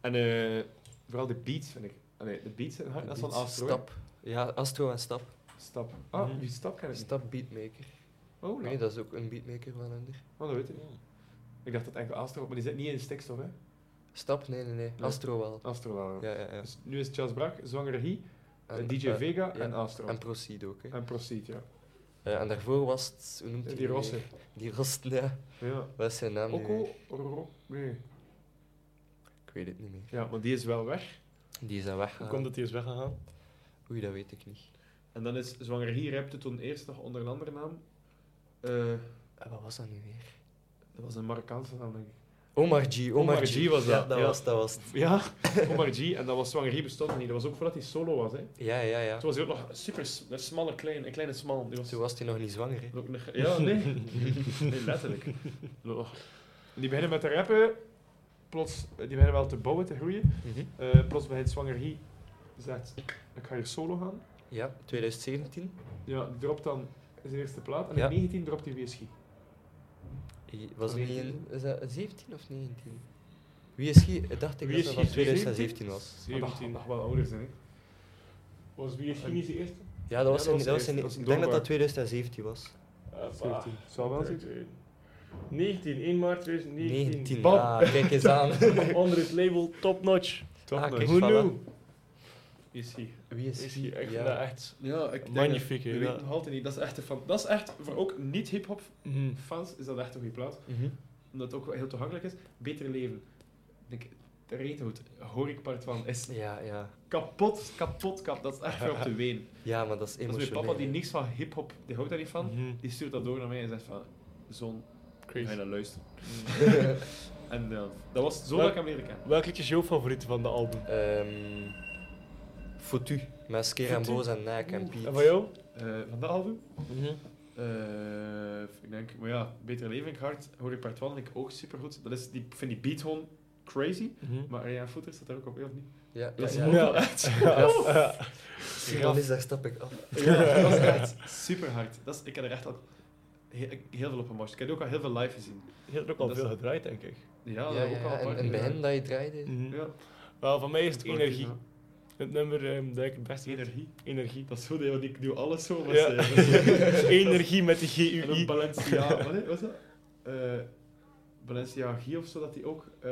En eh, vooral de beats, vind ik. Allee, de beats, zijn hard. dat is van Astro.
Stap. Ja, Astro en Stap.
Stap. Ah,
Mhm.
die stap ken ik niet.
Stap Beatmaker.
Oh, nee.
Nee, dat is ook een beatmaker van Ender.
Oh, dat weet ik niet. Ik dacht dat enkel Astro, maar die zit niet in stikstof, hè.
Stap? Nee, nee, nee.
Nee.
Astro wel.
Astro wel.
Ja, ja, ja.
Dus nu is Charles Brak, Zwangere Hie,
En,
DJ
eh,
Vega
ja.
en Astro.
En
En,
Proceed ook, hè.
Proceed, ja.
Eh, en daarvoor was het... Hoe noemt hij
Die
nu
Rossen.
weer? Die Rost, ja.
Ja.
Wat is zijn naam nu
Oko,
weer?
Ro- nee.
Ik weet het niet meer.
Ja, maar die is wel weg.
Die is aan
Hoe
weggegaan.
komt dat die is weggegaan?
Oei, dat weet ik niet.
En dan is Zwangere Hie rapte toen eerst nog onder een andere naam. Eh,
Eh, wat was dat nu weer?
dat was een Marokkaanse naam, denk ik.
Omar G. Omar,
Omar G was dat,
Ja, dat
ja.
was, dat was het.
Ja, Omar G. En dat was Zwangere Hie bestond nog niet. Dat was ook voordat hij solo was, hè.
Ja, ja, ja.
Toen was hij ook nog super s- een smalle, klein, een kleine smal. Die was
Toen was hij nog niet zwanger, hè.
Ook nog- Ja, nee. nee letterlijk. Oh. Die beginnen met te rappen. Plots, die beginnen wel te bouwen, te groeien.
Mhm.
Eh, plots bij het zwanger Guy zegt, ik ga hier solo gaan.
Ja, 2017.
Ja, die dropt dan zijn eerste plaat. En
Ja.
in 19 dropt hij WSG.
I- Was het niet in...
19?
Is dat 17 of 19? Wie is hij? Ik dacht ik
Wie
dat
is
dat
Guy?
van 2017 was.
Maar Dat
17.
nog wel ouder zijn, hè.
Was wie is niet de eerste?
Ja, dat was
dat
in...
was
Dat was
eerst,
in
dat was
ik denk dat
doorbraak.
dat 2017 was.
Ah,
17. Zou wel zitten.
19, 1 maart
19.
2019. Bam.
Ah, kijk eens aan.
Onder het label Top Notch.
Top
Ah,
notch.
kijk,
Who
voilà.
knew?
Is hij.
Wie is
Is hier
hij?
echt,
Ja.
nou, echt.
Ja, ik
denk Magnifiek, dat- hè,
Je
we
weet
ja. weten
nog altijd niet. Dat is echt, van, dat is echt voor ook niet hip-hop
Mhm.
fans is dat echt een goede plaat.
Mhm.
Omdat het ook heel toegankelijk is. Beter leven. Ik denk, de reden hoe het hoorikpart van is
Ja, ja.
kapot, kapot, kapot. Dat is echt voor op te ween.
Ja, maar dat is
Dat is
emotioneel.
mijn papa die niks van hip-hop, die houdt daar niet van.
Mhm.
Die stuurt dat door naar mij en zegt van, zoon, ga je
Crazy.
naar luisteren. en eh, dat was zo dat ik hem leren kennen.
Welke is jouw favoriet van de album?
Ehm, Foutu. Ah, Met Skeer en
Foutu.
Boos en Naak en Piet.
En van jou?
Eh, van dat album?
Mhm.
eh, ik denk, maar ja, Beter Leven, ik hard, hoor ik part 1, vind ik ook supergoed. Dat is, die, vind die beat gewoon crazy.
Mhm.
Maar Arjan Footer staat daar ook op, heel of niet?
Ja, ja,
Dat is
ja. Dus
ook wel echt...
Ja.
Dan is daar stap ik af.
Ja, dat was echt super hard. Dat is, ik heb er echt al heel, heel veel op gemorst. Ik heb die ook al heel veel live gezien.
Je hebt er ook al
Dat
veel
is-
gedraaid, denk ik. Mm.
Ja,
Ja,
dat
ja,
ook al een
en-
paar
en
keer.
bij hen dat je draaide.
Ja,
Wel, van mij is het
Dat wordt
energie.
hier,
Het nummer ehm dat ik het beste vind.
Energie.
Energie.
Dat is goed, hè, want ik doe alles zo. Maar
Ja.
ze- dat is-
energie met de
En ook
GUI.
Balenciaga, wat hè, was dat? Eh Balenciaga Guy of zo, dat die ook... eh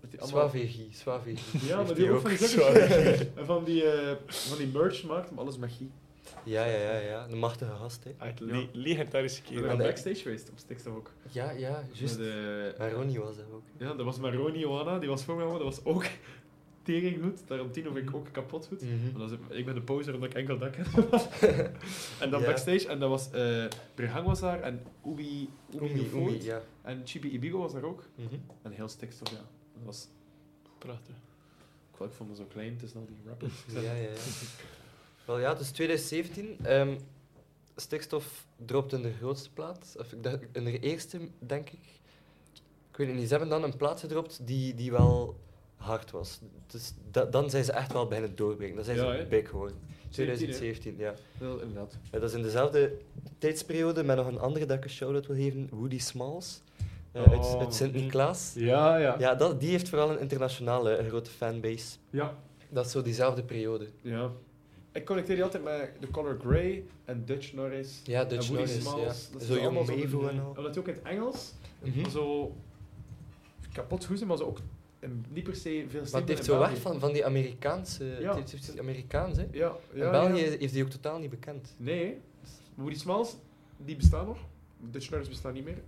dat die allemaal...
Swavegi, Swavegi.
Ja, maar
Heeft
die
hij
ook van die
ook.
zakken. En van die, eh, van die merch maakt, maar alles met Guy.
Ja, ja, ja, ja. De machtige gast, hè.
Uit Ah, le legendarische
Ik
keer.
ben
dat-
backstage geweest op Stikstof ook.
Ja, ja, juist.
Met, eh,
En Ronnie was dat ook.
Ja, dat was maar Ronnie Johanna, die was voor mij, maar dat was ook tering goed. Tarantino vind ik ook kapot goed.
Mhm.
Want dat is- ik ben de poser omdat ik enkel dak heb. en dan
Ja.
backstage, en dat was eh Brehang was daar, en Ubi, Ubi,
Oemi,
Dufoort,
Oemi, ja.
en Chibi Ibigo was daar ook.
Mhm.
En heel stikstof, ja. Dat was,
Prachtig.
ik wou- ik vond me zo klein, het is nou die rappers. Ik
Ja,
zei,
ja, ja. Wel ja, dus 2017. ehm, stikstof dropt in de grootste plaats. Of ik dacht, in de eerste, denk ik. Ik weet het niet. Ze hebben dan een plaat gedropt die, die wel hard was. Dus da- dan zijn ze echt wel beginnen doorbreken. Dan zijn
Ja,
ze
hè?
big geworden.
17, hè?
2017, ja.
Wel, inderdaad.
Ja, Dat is in dezelfde tijdsperiode met nog een andere dat ik een shout-out wil geven, Woody Smalls. eh,
Oh.
uit, uit Sint-Niklaas.
Ja, mhm. ja.
Ja, dat, die heeft vooral een internationale eh, grote fanbase.
Ja.
Dat is zo diezelfde periode.
ja. Ik connecteer die altijd met The Color Grey en Dutch Norris.
Ja, Dutch
en Woody
Norris,
Smalls.
ja.
Dat
Zo
is
jong
allemaal
Mevo
zo'n- eh,
en al.
Omdat die ook in het Engels
Mhm.
zo kapot hoezen, maar ze ook een- niet per se veel
Maar
stemmen
het heeft
in
zo
België.
weg van, van die Amerikaanse... het heeft- Het heeft Amerikaans, hè.
Ja, ja,
in België
ja.
heeft die ook totaal niet bekend.
Nee, hè. maar Woody Smalls, die bestaan nog. Dutch Nerds bestaan niet meer.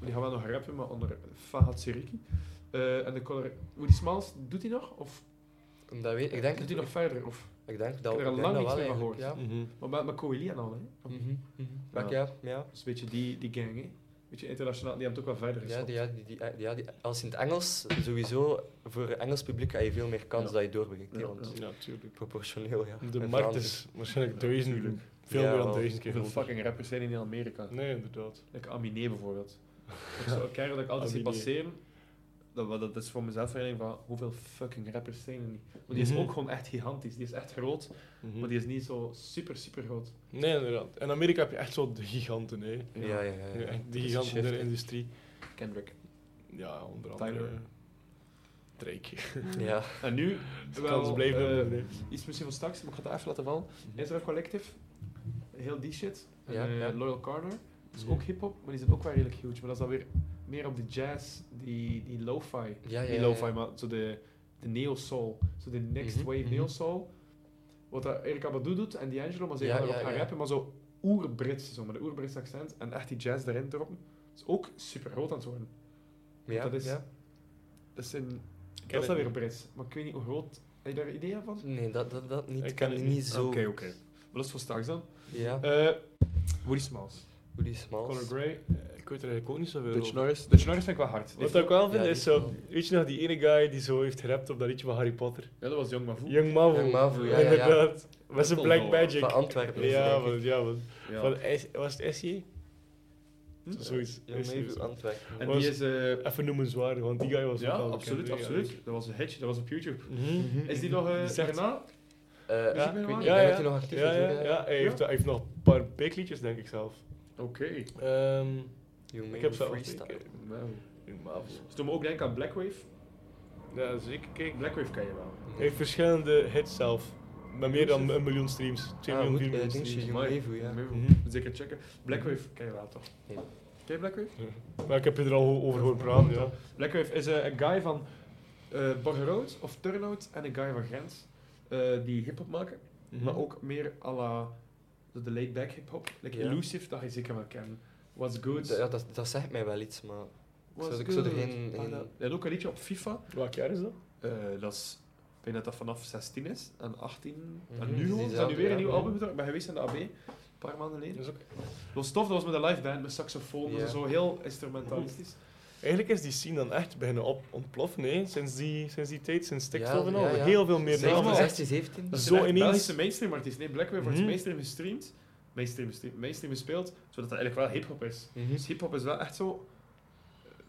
Die gaan wel nog rappen, maar onder Fahad Seriki. Eh, en de color... Woody Smalls, doet hij nog? Of
Dat weet, ik denk
doet
het
hij nog verder? Of...
Ik denk
Ik
dat,
heb er al
ik denk
lang
dat
niks
wel
meer van
eigenlijk, ja.
Mhm.
Maar met, met Coeli en al, hè.
Mhm, mhm. Maar ja, ja.
Dat is een beetje die, die gang, hè. Weet je, internationaal, die hebben het ook wel
Ja,
verder geschopt.
die, ja, die, die, ja, die- als in het Engels, sowieso, voor een Engels publiek heb je veel meer kans
Ja.
dat je doorbrengt. hè,
Ja,
want
ja.
Ja, tuurlijk.
proportioneel, ja.
De
in
markt
Vlaanderen.
is waarschijnlijk duizend,
Tuurlijk.
veel
Ja,
meer dan
wel.
duizend keer
Hoeveel
groter.
fucking rappers zijn in Amerika?
Nee, inderdaad.
Like Aminé bijvoorbeeld. Ik zou kijken dat ik altijd zie
Aminé.
passeren. Dat, wel- dat is voor mezelf alleen van hoeveel fucking rappers zijn er niet. Want die is
Mhm.
ook gewoon echt gigantisch. Die is echt groot,
Mhm.
maar die is niet zo super, super groot.
Nee, inderdaad. In Amerika heb je echt zo de giganten, hè.
Ja, ja, ja. ja.
Echt
Dat
de
is
giganten
een
in
shift,
de industrie.
Kendrick.
Ja, onder andere...
Tyler.
eh, Drake.
hè. Ja.
En nu,
De
wel,
kans blijft
eh,
er, nee.
iets misschien van straks, maar ik ga het even laten vallen. Ezra Collective, heel die shit. En,
Ja,
eh,
ja.
Loyal Carter, dat is
Ja.
ook hip-hop, maar die zijn ook wel redelijk huge. Maar dat is dan weer meer op de jazz, die, die lo-fi.
Ja, ja,
niet
ja.
lo-fi, maar zo de, de neo-soul. Zo de next
Mhm,
wave
mhm.
neo-soul. Wat dat Erika Badu doet en D'Angelo, maar ze
Ja,
gaan
ja,
erop gaan
ja.
rappen, maar zo oer-Brits, zo met een oer-Brits accent en echt die jazz erin droppen. Dat is ook super groot aan het worden.
Ja,
dat is-
ja.
Dat is, een,
ken
dat is
het
dan weer
niet.
Brits, maar ik weet niet hoe groot. Heb je daar ideeën van?
Nee, dat, dat, dat niet.
Ik ken
Ik kan
het
het
niet.
niet zo.
Oké, oké. Maar dat is voor straks dan.
Ja,
Eh, Woody Smalls.
Woody Smalls.
Conor Gray. eh, Ik weet er eigenlijk ook niet zoveel
Dutch
over.
Norris. Dutch Norris vind ik wel hard.
Wat ik wel vind
Ja,
is
die is
zo... Weet je nog die ene guy die zo heeft gerapt op dat liedje van Harry Potter?
Ja, dat was Young Mavu.
Young Mavo.
Young Mavo, ja, ja, ja.
Inderdaad. Met zijn
Van
Black
Antwerpen.
Magic.
Van Antwerpen. is
Ja,
het, denk
want,
ik.
ja, want,
Ja.
Van S- was het SJ?
Hm?
Zoiets.
Ja, maybe
SJ.
Antwerpen.
En
was-
die is... eh,
Even noemenswaardig, want die guy was
ja,
ook al
absoluut,
bekend, hè,
absoluut. Dat was een hitje, dat was op YouTube.
ja. Mhm.
Is die nog eh
Die zegt-
daarna?
Eh,
Ja,
ik weet niet,
ja,
ja.
ik denk dat hij nog actief
Ja,
is.
ja,
hoor, eh.
ja, hij heeft, hij heeft nog een paar backliedjes, denk ik zelf.
Oké.
Ehm
You
ik
made
heb
me
ze al
freestyle.
gekeken.
Wow.
Young Mavo.
Dus toen me ook denken aan Blackwave.
Ja, zeker. Kijk, hij
Blackwave ken je wel.
heeft verschillende hits zelf. Met meer dan een miljoen streams. 2
Ah,
miljoen,
goed,
4
eh,
miljoen
dingetje,
streams.
Young
Amai.
Mavu, ja.
Young Mavu.
Mhm.
Zeker checken. Blackwave ken je wel toch?
Ja.
Ken je Blackwave?
Maar ik heb je er al over gehoord praten, ja.
Blackwave is eh, een guy van eh Borgerhout of Turnhout en een guy van Gent. eh, die hip-hop maken.
Mhm.
Maar ook meer à la de de laid-back hip-hop. Like
Ja.
Elusive, dat je zeker wel kent. What's Good.
Ja, dat, dat zegt mij wel iets, maar...
What's
Zou ik zo
Good.
erin-
Ah,
in-
dat- Hij had ook een liedje op FIFA.
Welk jaar is dat?
Eh, dat is, ik denk dat dat vanaf 16 is en 18.
Mhm,
En
dus
nu gewoon,
die
ze hebben nu weer een
zaten,
nieuw
ja.
album gedaan. Ik ben geweest aan de AB een paar maanden geleden.
Dat is ook...
Dat was tof, dat was met een live band, met saxofoon,
Ja. Mhm.
dus zo heel instrumentalistisch.
Eigenlijk is die scene dan echt beginnen op ontploffen, hè? Sinds, die, sinds die tijd, sinds TikTok
Ja,
en al.
ja, ja.
Heel veel meer
Zeker.
namen.
allemaal.
16, 17.
Dat
is
zo
zo
echt
ineens-
Belgische mainstream artiest. Nee, Blackwave wordt
Mhm.
mainstream gestreamd. Mainstream, gestreamd- mainstream gespeeld, zodat dat eigenlijk wel hip-hop is.
Mhm.
Dus hip-hop is wel echt zo.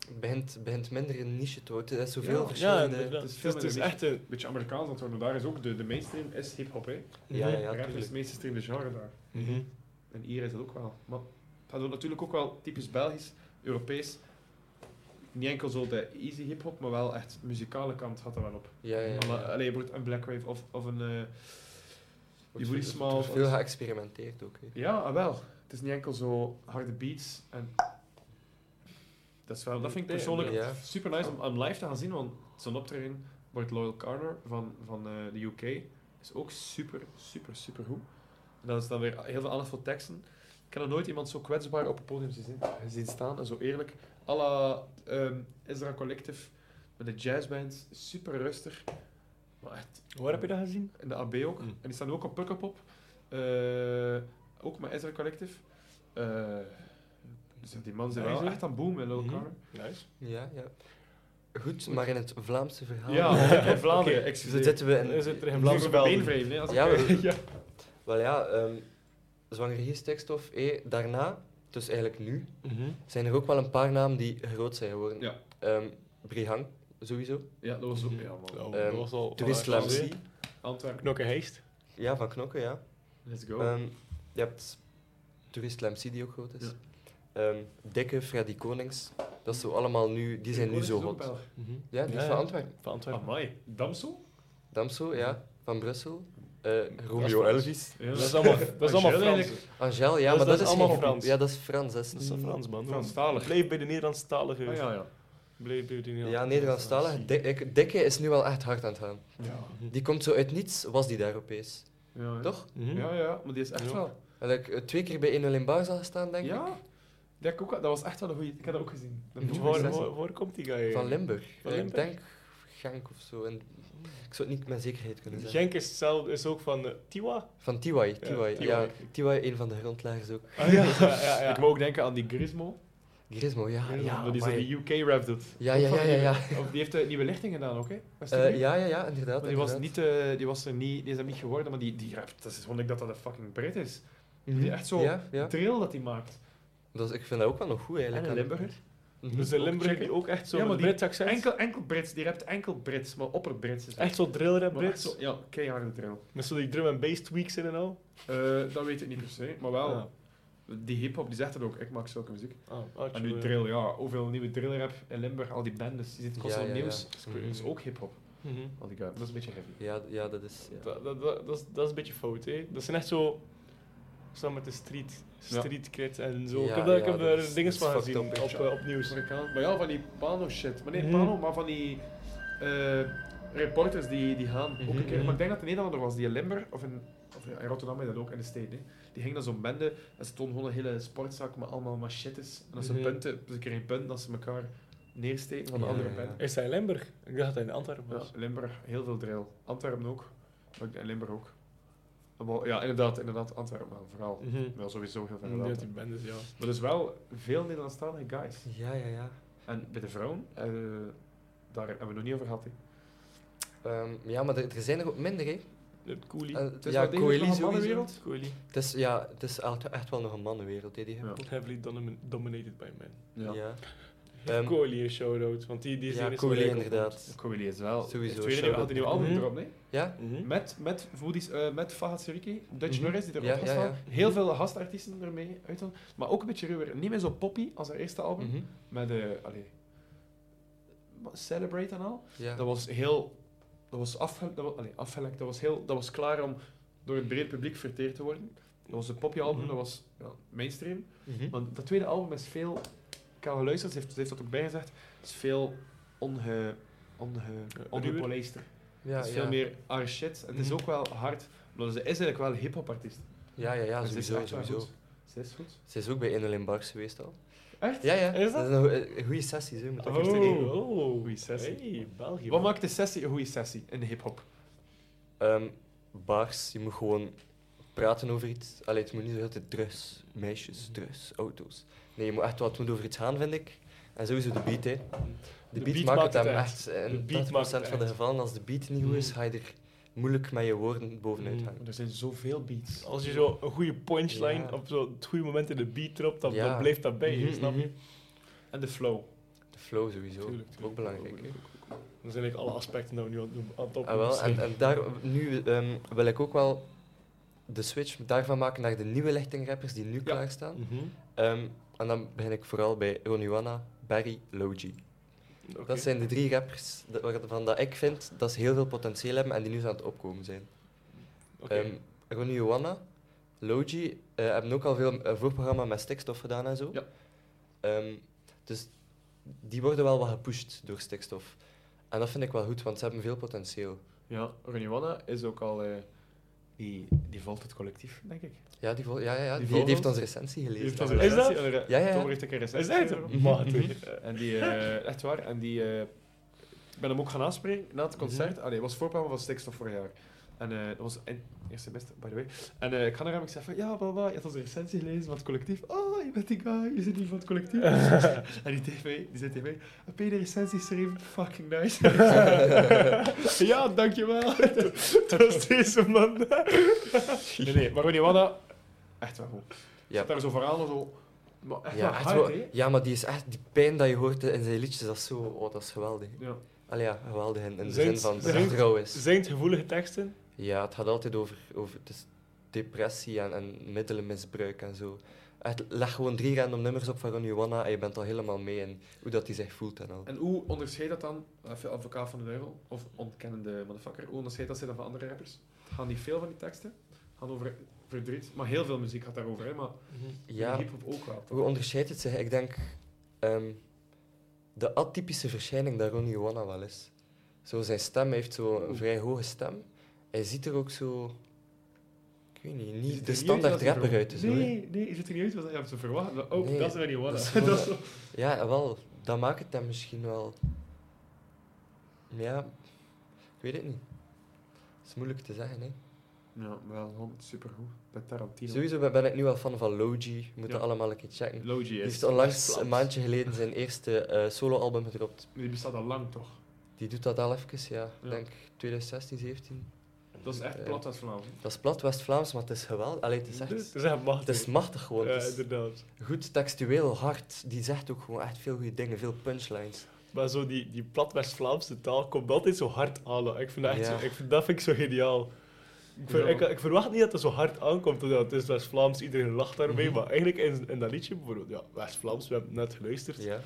Het begint, begint minder een niche te worden. Er is zoveel
Ja,
Ja,
verschillende...
inderdaad.
Het is
Het
veel
is, het is
meer een
echt een...
Een beetje Amerikaans aan het worden. Daar is ook de, de mainstream is hip-hop. hè.
Ja, ja, ja,
Rap is
tuurlijk.
het mainstream genre daar.
Mhm.
En hier is dat ook wel. Maar het gaat ook natuurlijk ook wel typisch Belgisch, Europees. Niet enkel zo de easy hip-hop, maar wel echt muzikale kant had er wel op.
Ja, ja, ja.
Alle-
eh,
Allee, bijvoorbeeld een Blackwave of, of een. eh die Woody
Er
Smalls.
wordt veel geëxperimenteerd ook. hè.
Ja, ah, wel. Het is niet enkel zo harde beats en. Dat, is wel, dat vind ik persoonlijk
Ja.
super nice om, om live te gaan zien, want zo'n optreden wordt Loyal Carter van, van eh, de UK is ook super, super, super goed. En dat is dan weer heel veel aandacht voor teksten. Ik heb nog nooit iemand zo kwetsbaar op een podium gezien, gezien staan en zo eerlijk. À la ehm, Ezra Collective met de jazzband, super rustig. Maar echt
Waar heb je dat gezien?
in de AB ook.
Mm.
En die staan ook op Pukkelpop. Eh ook met Ezra Collective. Eh, dus die man zijn wel
Nice, hè?
echt aan boom in Low
Mhm.
Car.
Nice.
Ja, ja. Goed, maar in het Vlaamse verhaal...
Ja, in Vlaanderen,
Oké,
excuseer.
Dus zitten we
En is
in...
het er in Vlaamse Belden?
beenvreemd, hè, als ik-
Ja, we-
ja.
Wel ja, ehm zwangere geestekstof. eh, daarna, dus eigenlijk nu,
Mhm.
zijn er ook wel een paar namen die groot zijn geworden.
Ja.
Ehm, Brihang, sowieso.
Ja, dat was ook... Ja, man.
Nou, dat was al...
Twist
Ah,
Lamsie.
Antwerpen.
Knokke Heist.
Ja, van Knokken, ja.
Let's go.
Ehm, je hebt Tourist Lamsie, die ook groot is.
Ja.
Ehm, Dikke, Freddy Konings. Dat is zo allemaal nu... Die zijn nu zo hot.
Mhm.
Ja, die is van Antwerpen.
Van Antwerpen.
Amai. Damsel?
Damso, ja. Van Brussel. Eh,
is
Romeo
Frans.
Elvis.
Ja.
Dat is allemaal, dat is allemaal Frans.
Angel,
Dat
ja,
is-
maar
dat
dat,
is
is
allemaal
geen-
Frans.
Ja, dat is Frans. Dat is,
Dat is een
niet-
Frans, man.
Franstalig.
Blijf bij de Nederlandstalige.
Ah, ja, ja.
Blijf bij de
Ja, Nederlandstalig. Dik- ik- Dikke is nu wel echt hard aan het gaan.
Ja.
Die komt zo uit niets, was die daar opeens.
Ja, hè.
Toch?
Mhm.
Ja, ja, maar die is echt
Ja.
wel...
Had ik eh, twee keer bij 1 in Barza gestaan, denk ik.
Ja? Ik Denk ook, wel- dat was echt wel een goeie... Ik heb dat ook gezien.
Weet
Dat
je,
moet
Waar,
ik
waar,
zeggen.
waar komt die guy?
Van Limburg.
Van
Eh,
Limburg?
Ik denk Genk of zo. En ik zou het niet met zekerheid kunnen zeggen.
Genk is, zelf, is ook van eh, Tiwa.
Van Tiwai. Tiwai,
Tiwai.
Ah,
ja. Tiwai, een van de grondleggers ook.
ja, ja, ja.
Ik moet ook denken aan die Grismo.
Grismo, ja. Ah, Ja,
dat is dat
amai.
die UK-rap doet.
Ja, ja, ja, ja, ja.
Of die heeft eh, nieuwe lichting gedaan ook, hè? Was die
Eh,
niet?
ja, ja, ja, inderdaad.
Maar die, was
inderdaad.
niet, eh, die was er niet, die is er niet geworden, maar die, die rapt. Dat is gewoon ik dat dat een fucking Brit is. Die echt zo
Mhm. Ja, ja.
drill dat hij maakt.
Dat, is- ik vind dat ook wel nog goed
En
eigenlijk.
een Limburger.
Mhm.
Dus de
Ook
Limburg
checken.
die ook echt zo
Ja,
met
maar
een
die-
Brits accent.
Enkel, enkel Brits, die rapt enkel Brits, maar opper-Brits is dat.
Echt zo drillrap
Maar echt
Brits.
zo- Ja, keiharde drill.
Met zo die drum en bass tweaks in en al.
Eh, dat weet ik niet per se, maar wel.
Ja.
Die hip-hop die zegt het ook, ik maak zulke muziek.
Ah, ah,
En nu
tjoe.
drill, ja, hoeveel nieuwe drill rap in Limburg, al die bendes, die zitten constant
Ja, ja,
op
ja.
nieuws. Dat is- is ook hip-hop.
Mhm.
Al die guy. Dat is een beetje heavy.
Ja, ja, dat is... Ja.
Dat, dat, dat, dat, is, dat is een beetje fout, hè. Dat zijn echt zo... Samen met de street, street cred en zo.
Ja,
ik heb, daar, ik
ja,
heb
dat
daar
is-
dingen
dat is
van
fucked
gezien op,
up,
eh, op nieuws.
Amerikaan. Dus Maar ja, van die pano shit. Maar nee,
Mhm.
pano, maar van die eh, reporters die, die gaan. Ook een keer.
mhm.
Maar ik denk dat het een Nederlander was die in Limburg, of in, of ja, in Rotterdam is dat ook, in de steden. hè. Die ging dan zo'n bende en ze tonen gewoon een hele sportzak met allemaal machettes. En als ze
Mhm.
punten, ze kregen punten dat ze elkaar neersteken van de
Ja,
andere
ja, ja.
bende.
Is hij in Limburg? Ik dacht dat hij in Antwerpen
Ja,
was.
Limburg, heel veel drill. Antwerpen ook. Maar ik- En Limburg ook. Maar Ja, inderdaad, inderdaad, Antwerpen wel, vooral.
Mhm.
Wel sowieso heel veel.
Ja,
gedaan.
die bendes, ja.
Maar dus wel veel Nederlandstalige guys.
Ja, ja, ja.
En bij de vrouwen, eh, daar hebben we het nog niet over gehad. hè.
Ehm, ja, maar er, er zijn er ook minder, hè.
Het Cooley.
Eh,
Het is
ja,
wel degelijk
Coeli
nog een
sowieso.
mannenwereld.
Cooley.
Het is, ja, het is echt, echt wel nog een mannenwereld, hè, die
Ja.
hip-hop.
Heavily domi- dominated by men.
Ja.
Ja.
Ehm,
Cooley een shout-out, want die, die is
ja,
hier
Coeli
in
inderdaad.
Coeli is wel.
Sowieso,
Het tweede
shout-out.
had een nieuw album
Mhm.
erop, nee?
Ja?
Hm?
Met, met, Voodies, eh, met Fahad Seriki, Dutch
Mhm.
Norris, die erop
Ja,
had
ja, ja.
staan. Heel veel gastartiesten ermee uit. dan. Maar ook een beetje ruwer. Niet meer zo poppy als haar eerste album.
Mhm.
Met, eh allee, wat, Celebrate en al.
Ja.
Dat was heel... Dat was afgelekt. Dat was, allee, afgelekt, dat was, heel, dat was klaar om door het breed publiek verteerd te worden. Dat was een poppy album,
Mhm.
dat was ja, mainstream.
Mhm.
Want dat tweede album is veel. Ik heb geluisterd, ze heeft, ze heeft dat ook bijgezegd. Het is veel onge, onge, ongepolijster.
ja,
het is veel
ja.
meer our shit. En het is
Mhm.
ook wel hard, omdat ze is eigenlijk wel een hip-hop artiest.
Ja, ja, ja,
En ze is
sowieso,
echt wel
sowieso.
goed. Ze is goed.
Ze is ook bij Inelin Bars geweest al.
Echt?
Ja, ja.
Is dat?
is een goede sessie, zo, met dat
Oh.
eerste deel.
Oh,
Goeie sessie.
Hey, België.
Wat
man.
maakt de sessie een goede sessie in de hip-hop?
Ehm, bars, je moet gewoon praten over iets. Allee, het moet niet zo heel de tijd drugs, meisjes, drugs, auto's. Nee, je moet echt wat het moet over iets gaan, vind ik. En sowieso de beat, hè. De beat,
De
maakt het hem echt.
De
In
beat
80%
maakt het
van de
echt.
gevallen, als de beat niet goed is,
Mhm.
ga je er moeilijk met je woorden bovenuit
Mhm.
hangen.
Er zijn zoveel beats.
Als je zo een goede punchline
Ja.
op zo het goede moment in de beat dropt, dan,
Ja.
dan blijft dat bij je,
Mhm,
snap je?
mhm.
En de flow.
De flow sowieso,
Tuurlijk, tuurlijk.
ook belangrijk. hè.
Dan zijn eigenlijk alle aspecten nou nu aan aan het opnemen.
Ah, wel, en, en daar, nu ehm, wil ik ook wel de switch daarvan maken naar de nieuwe lichtingrappers die nu klaarstaan.
Mhm.
Ehm, en dan begin ik vooral bij Roniwana, Barry, Logie.
Oké.
Dat zijn de drie rappers da- waarvan dat ik vind dat ze heel veel potentieel hebben en die nu aan het opkomen zijn.
Oké.
Ehm, Ronnie Joanna, Logi eh, hebben ook al veel eh, voorprogramma met stikstof gedaan en zo.
Ja.
Ehm, dus die worden wel wat gepusht door stikstof. En dat vind ik wel goed, want ze hebben veel potentieel.
Ja, Reniwanna is ook al. eh, die, die volgt het collectief, denk ik.
Ja, die, vol- ja, ja, ja.
Die
Die, die heeft
volgens-
onze recensie
Die
gelezen.
heeft ons
Ja.
een
Is dat?
recensie- een re-
Ja, ja, ja.
Tom heeft een keer een
Is
sessie
dat
erop.
het? Maat, weer.
En die, eh, echt waar, en die, eh, ik ben hem ook gaan aanspreken na het
Mhm.
concert. Allee, het was voorprogramma van Stikstof vorig jaar. En eh, dat was in, eerste beste, by the way. En eh, ik ga naar hem, ik zeg van, ja, bla bla, je hebt onze recensie gelezen van het collectief. Oh, je bent die guy, je zit hier van het collectief. en die tv, die zit tv, heb je de recensie geschreven? Fucking nice. ja, dankjewel.
Dat is deze man.
nee, nee, maar Ronnie Wanna, echt wel goed.
Ja.
Daar zo verhalen zo, maar echt wel
Ja, echt
hard,
wel-
hè.
ja, maar die, is echt, die pijn dat je hoort in zijn liedjes, dat is zo... Oh, dat is geweldig.
Ja.
Allee, ja, geweldig in, in de
Zijn-
zin van dat
zijn-
het trouw is.
Zijn het gevoelige teksten?
Ja, het gaat altijd over, over het is depressie en, en middelenmisbruik en zo. Echt, leg gewoon drie random nummers op van Ron Juana en je bent al helemaal mee in hoe dat hij zich voelt en al.
En hoe onderscheidt dat dan, even advocaat van de duivel, of ontkennende motherfucker, hoe onderscheidt dat zich dan van andere rappers? Het gaan niet veel van die teksten, het gaan over verdriet, maar heel veel muziek gaat daarover, hè, maar
Ja,
hip-hop ook wel. toch?
hoe onderscheidt het zich? Ik denk ehm, de atypische verschijning dat Ron Juana wel is. Zo, zijn stem heeft zo'n vrij hoge stem. Hij ziet er ook zo, ik weet niet,
Je ziet er
niet de
niet uit
standaard
wat je
rapper
verwacht-
uit. te zien, hè.
Nee, nee, je ziet er niet uit wat je hebt te verwachten. Oh,
Nee,
dat is er niet
dat is
wat.
gewoon-
Dat is zo-
Ja, wel, dat maakt het hem misschien wel. Ja, ik weet het niet. Het is moeilijk te zeggen, hè?
Ja, wel gewoon supergoed. Bij Tarantino.
Sowieso ben- ben ik nu wel fan van Logi. Moet dat
Ja.
allemaal een keer checken. Die
Logie is
heeft onlangs
plat.
een maandje geleden zijn eerste eh soloalbum gedropt.
Die bestaat al lang toch?
Die doet dat al even, ja. Ik
Ja.
denk 2016, 17.
Dat is echt
Eh,
plat uit vanavond.
Dat is plat West-Vlaams, maar het is geweldig. Allee, het is echt...
Het is echt machtig.
Het is machtig gewoon.
Dus- Ja,
Het is
inderdaad.
goed textueel, hard. Die zegt ook gewoon echt veel goede dingen, veel punchlines.
Maar zo die, die plat West-Vlaamse taal komt altijd zo hard aan. Ik vind dat, echt
Ja.
zo, ik vind, dat vind ik zo geniaal. Ik, ver-
Ja.
ik, ik verwacht niet dat het zo hard aankomt. omdat het is West-Vlaams, iedereen lacht
Mhm.
daarmee. Maar eigenlijk in, in dat liedje bijvoorbeeld, ja, West-Vlaams, we hebben het net geluisterd.
Ja.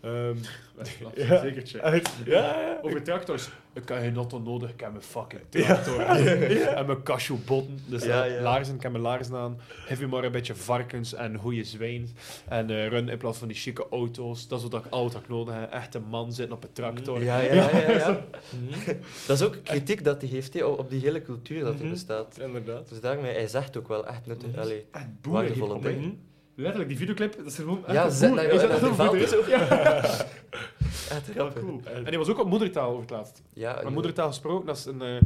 Ehm,
West-Vlaams,
ja,
zeker check.
uit- ja, ja,
Over tractors. Ik heb geen auto nodig, ik heb mijn fucking tractor. En mijn cashewbotten. Dus
Ja,
eh,
ja.
laarzen, ik heb mijn laarzen aan. Heb je maar een beetje varkens en goede zwijn. En eh, run in plaats van die chique auto's. Dat is wat ik altijd nodig heb. Echt een man zitten op een tractor.
Ja, ja, ja, ja, ja.
Mhm.
dat is ook kritiek dat hij heeft hè, op op die hele cultuur dat er
Mhm.
bestaat.
inderdaad.
Dus daarmee, hij zegt ook wel echt nuttig.
Mhm.
Allee,
Echt
waardevolle
boerenhiphop, hè.
dingen.
Letterlijk, die videoclip, dat is gewoon echt
Ja,
een
zet
boer.
naar-
Is dat
naar
echt
de
een boer?
velden.
Ja.
Echt
Heel
grappig.
cool. En die was ook op moedertaal over het laatst.
Ja,
Mijn moedertaal gesproken, dat is, een, eh,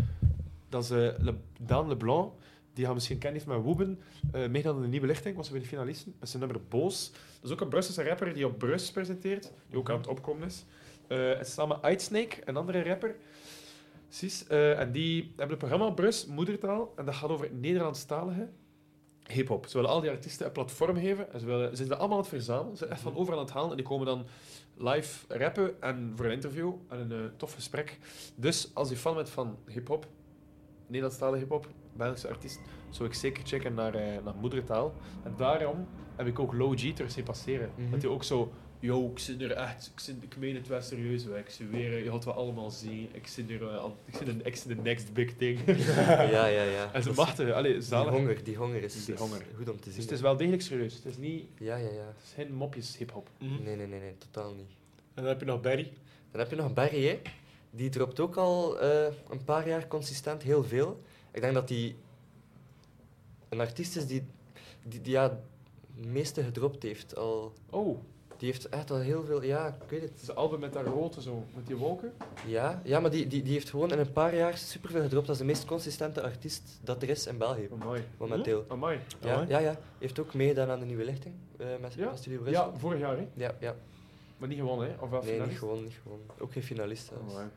dat is eh, Le- Daan LeBlanc. Die gaan misschien kennen, heeft met Woeben eh meegedaan in de Nieuwe Lichting, was hij bij de finalisten. Met zijn nummer Boos. Dat is ook een Brusselse rapper die op Brus presenteert, die ook aan het opkomen is. Eh en samen Snake, een andere rapper. Precies. eh, en die hebben een programma op Brus, Moedertaal, en dat gaat over het Nederlandstalige hip-hop. Ze willen al die artiesten een platform geven en ze, willen, ze zijn dat allemaal aan het verzamelen. Ze zijn echt van overal aan het halen en die komen dan live rappen en voor een interview en een eh, tof gesprek. Dus als je fan bent van hip-hop, Nederlandstalige hip-hop, Belgische artiest, zou ik zeker checken naar, eh, naar moedertaal. En daarom heb ik ook Low G terug zien passeren.
Mhm.
Dat hij ook zo. Yo, ik zit er echt, ik, zit, ik meen het wel serieus, hè. ik zweer, je gaat wel allemaal zien, ik zit er, eh, al- ik zit in, ik zit in the next big thing.
Ja, ja, ja.
en ze
Dat is-
machten, eh, allee,
Die
zalig.
honger, die honger is,
Die
is
honger.
goed om te zien.
Dus het is wel degelijk serieus, het is niet,
Ja, ja, ja.
het is geen mopjes hip-hop.
Mhm.
Nee, nee, nee, nee, totaal niet.
En dan heb je nog Barry.
Dan heb je nog Barry, hè. Die dropt ook al eh, een paar jaar consistent heel veel. Ik denk dat die een artiest is die, die, die ja, het meeste gedropt heeft al.
Oh,
Die heeft echt al heel veel... Ja, ik weet het.
het is een album met dat rood en zo, met die wolken.
Ja, ja maar die, die, die heeft gewoon in een paar jaar superveel gedropt. Dat is de meest consistente artiest dat er is in België,
Amai.
momenteel.
Hm? Amai.
Ja,
Amai.
ja, ja. Heeft ook meegedaan aan de Nieuwe Lichting eh, met,
Ja?
met Studio Brussel.
Ja, vorig jaar hè,
Ja, ja.
maar niet gewonnen hè, of wel
Nee, niet
finalist?
gewoon, niet gewoon. Ook geen finalist zelfs.
Amai.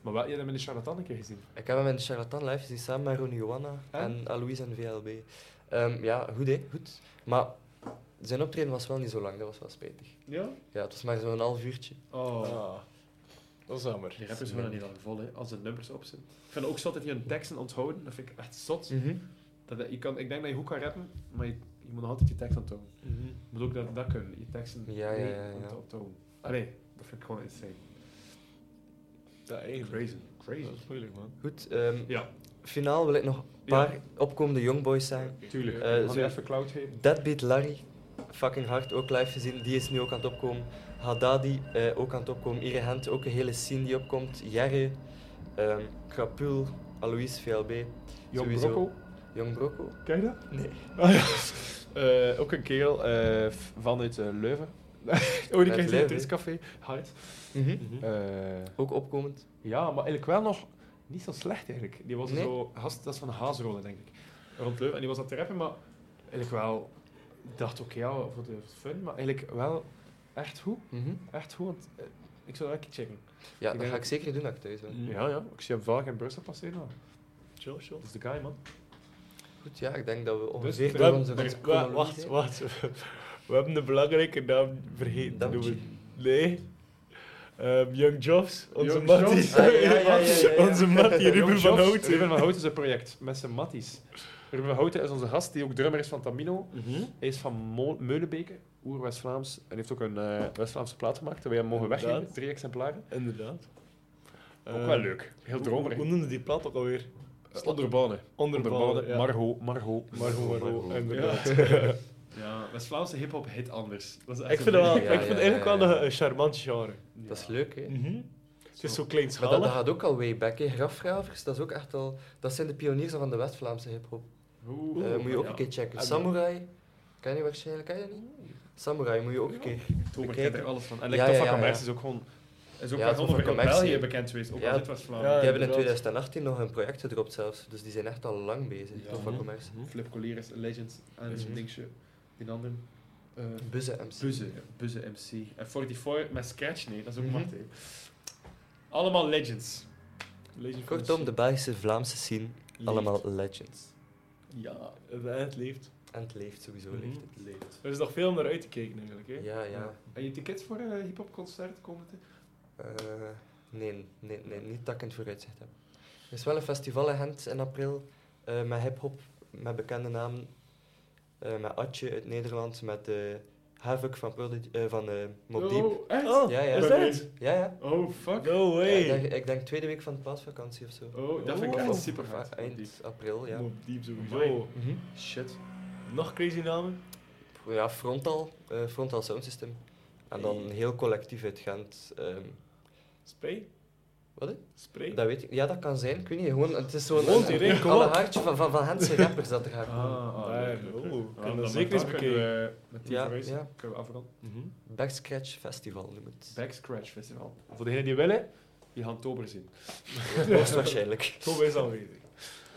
Maar wel, je hebt hem in de charlatan een keer gezien.
Ik heb hem in de Charlatan live gezien samen met Ronnie Johanna
En?
en Alois en VLB. Ehm, ja, goed hè, goed. Maar zijn optreden was wel niet zo lang, dat was wel spijtig.
Ja?
Ja, het was maar zo'n half uurtje.
Oh.
Ah, dat is jammer.
Die rappers worden niet lang vol, hè, als de nummers op zijn. Ik vind het ook zot dat je hun teksten onthouden. Dat vind ik echt zot. Dat, dat- je kan, ik denk dat je goed kan rappen, maar je, je moet nog altijd je tekst onthouden.
Mhm.
Je moet ook dat, dat kunnen, je teksten
Ja, ja,
mee
ja, ja.
ont- onthouden. Allee, dat vind ik gewoon insane.
Dat eigenlijk.
Crazy. Crazy.
Dat is moeilijk, man.
Goed, ehm,
Ja,
finaal wil ik nog een paar opkomende Youngboys zijn.
tuurlijk.
Eh,
Mag
zo-
je even cloud geven?
Deadbeat Larry, fucking hard, ook live gezien. Die is nu ook aan het opkomen. Haddadi, eh, ook aan het opkomen. Irehent, ook een hele scene die opkomt. Jerry, ehm Krapul, Alois, VLB.
Jong
sowieso.
Brocco.
Jong Brocco?
Ken je dat?
Nee.
Ah, ja. Eh, ook een kerel eh, f- vanuit eh, Leuven. oh, die krijgt
Leuven,
in
hè?
het Ritz-café. Hard.
Mhm.
Eh,
Ook opkomend.
Ja, maar eigenlijk wel nog niet zo slecht eigenlijk. Die was
Nee.
zo gast, dat is van Haasrollen denk ik. Rond Leuven. En die was aan het rappen, maar eigenlijk wel. Ik dacht oké, ja, voor de fun, maar eigenlijk wel echt goed.
Mhm.
Echt goed, want eh, ik zou dat wel een keer checken.
Ja,
Ik
dat
denk
ga
dat-
ik zeker doen dat ik thuis ben.
Mhm.
Ja, ja. Ik zie hem vaak in Brussel passeren. maar
Chill, chill.
Dat is de guy, man.
Goed, ja, ik denk dat we
Dus We
ongeveer door
hebben-
onze
we-
chronologie
Wacht,
zijn.
wacht. We hebben de belangrijke naam vergeten te
Dank je.
noemen. Nee. Ehm, Young Jobs, onze
Young
Mattie.
Jobs.
Ah, ja, ja, ja, ja, ja.
Onze Mattie, Ruben
Jong
van
Jobs.
Houten.
Ruben van Houten is een project met zijn matties. Ruben van Houten is onze gast, die ook drummer is van Tamino.
Mhm.
Hij is van Mo- Meulenbeke, oer-West-Vlaams. En heeft ook een eh, West-Vlaamse plaat gemaakt, dat wij hem mogen weggeven.
Inderdaad.
Drie exemplaren.
Inderdaad.
ook wel leuk. Heel dromerig.
Hoe noemde die plaat ook alweer?
Eh, Onderbanen.
Onderbanen,
Onderbanen.
ja.
Margo, Margo.
Margot, Margot,
Margot.
inderdaad.
Ja, West-Vlaamse hip-hop hit anders. Dat is
Ik vind, dat wel,
Ja,
ik vind
ja,
eigenlijk
ja,
wel
ja.
een, een charmant genre.
Dat is leuk, hè?
Mhm. Het is zo
Maar dat, dat
kleinschalig.
gaat ook al way back, hè? Grafgravers, dat is ook echt al... Dat zijn de pioniers van de West-Vlaamse hip-hop. Eh, moet je ook een keer checken.
Ah,
Samurai, ken je waarschijnlijk, ken je niet? Samurai moet je ook een keer
Tomer
bekijken.
kent er alles van. En
Ja,
Lectofa
ja, ja,
Commerce
ja.
is ook gewoon... Is ook
Ja,
wel
het is voor
heel veel
commercie.
België bekend geweest, ook
Ja.
al dit was
Ja,
Vlaanderen.
die hebben in
inderdaad.
2018 nog een project gedropt zelfs, dus die zijn echt al lang bezig.
Ja,
toch van
mhm.
commerce.
Flip Collier is een legend en
Mhm.
zo'n dingetje. Die andere. eh
Bussen MC.
Buzze, ja, Buzze MC. En 44 met Scratch, nee, dat is ook
Mhm.
mm Allemaal legends.
Legend van
Kortom,
Sea.
de Belgische Vlaamse scene,
Leeft.
allemaal legends.
Ja, eh,
En het leeft.
En het leeft sowieso,
Mhm.
leeft het.
leeft.
Er is nog veel om naar uit te kijken eigenlijk. Hè?
Ja, ja.
En je tickets voor een hip-hop concert komen te.
Eh, nee, nee, nee, niet dat ik in het vooruitzicht heb. Er is wel een festival in Gent in april eh, met hip-hop, met bekende namen. Eh, met Atje uit Nederland, met eh Havoc van, Prodigy, eh, van eh, Mob Deep.
Oh, echt?
Oh,
Ja, ja.
is dat?
Ja, ja.
Oh, fuck.
No
Ja,
way.
ik, denk, ik denk tweede week van de paasvakantie of zo.
Oh, dat vind ik
Oh.
echt super
Of
vet.
eind april, ja.
Mobb Deep sowieso.
Amai. Shit.
Nog crazy namen?
Ja, Frontal, eh, Frontal Sound System. En dan een heel collectief uit Gent. ehm,
Spray?
Wat, hè?
Spray?
dat weet ik. Ja, dat kan zijn, ik weet niet. Gewoon, het is zo'n
Gewoon
een-
direct,
een
kom op.
alle haartje van, van, van Gentse rappers dat er gaat komen.
daar,
Ah, leuk,
oh,
leuk, leuk.
kunnen
Ja,
we
dan
zeker
met
eens
dat kunnen
bekijken.
we, eh, Met die
Ja,
verwijzing
ja.
kunnen we afronden.
Mhm.
Backscratch Festival noem het.
Backscratch Festival. Voor degenen die willen, die gaan Tober zien.
Hoogstwaarschijnlijk.
Zo is aanwezig.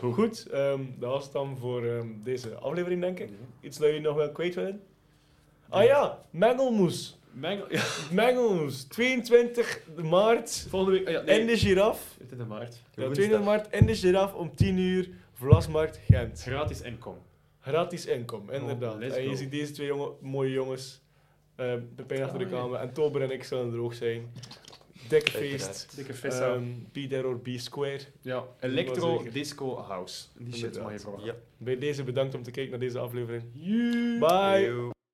Goed, ehm, dat was het dan voor ehm, deze aflevering, denk ik. Iets dat jullie nog wel kwijt willen? Ah ja, mengelmoes.
Mengel... Ja,
Mengelmoes. 22 maart
volgende week... ah ja, nee.
in de giraf.
Het is in maart.
Ja,
Woensdag.
22 maart in de giraf om 10 uur. Vlasmarkt Gent.
Gratis inkom.
Gratis inkom, inderdaad.
Oh, let's
en je
go.
ziet deze twee jonge, mooie jongens. eh Pepijn achter
Ah,
de
ja.
kamer en Tober en ik zullen er ook zijn. Dikke feest.
Uiteraard.
Dikke vis
Ehm be there or be square.
Ja,
Dat wel
Electro
zeker.
Disco House. Die shit
Inderdaad.
mag je verwachten.
Ja.
Bij deze bedankt om te kijken naar deze aflevering.
Yeah.
Bye!
Yo.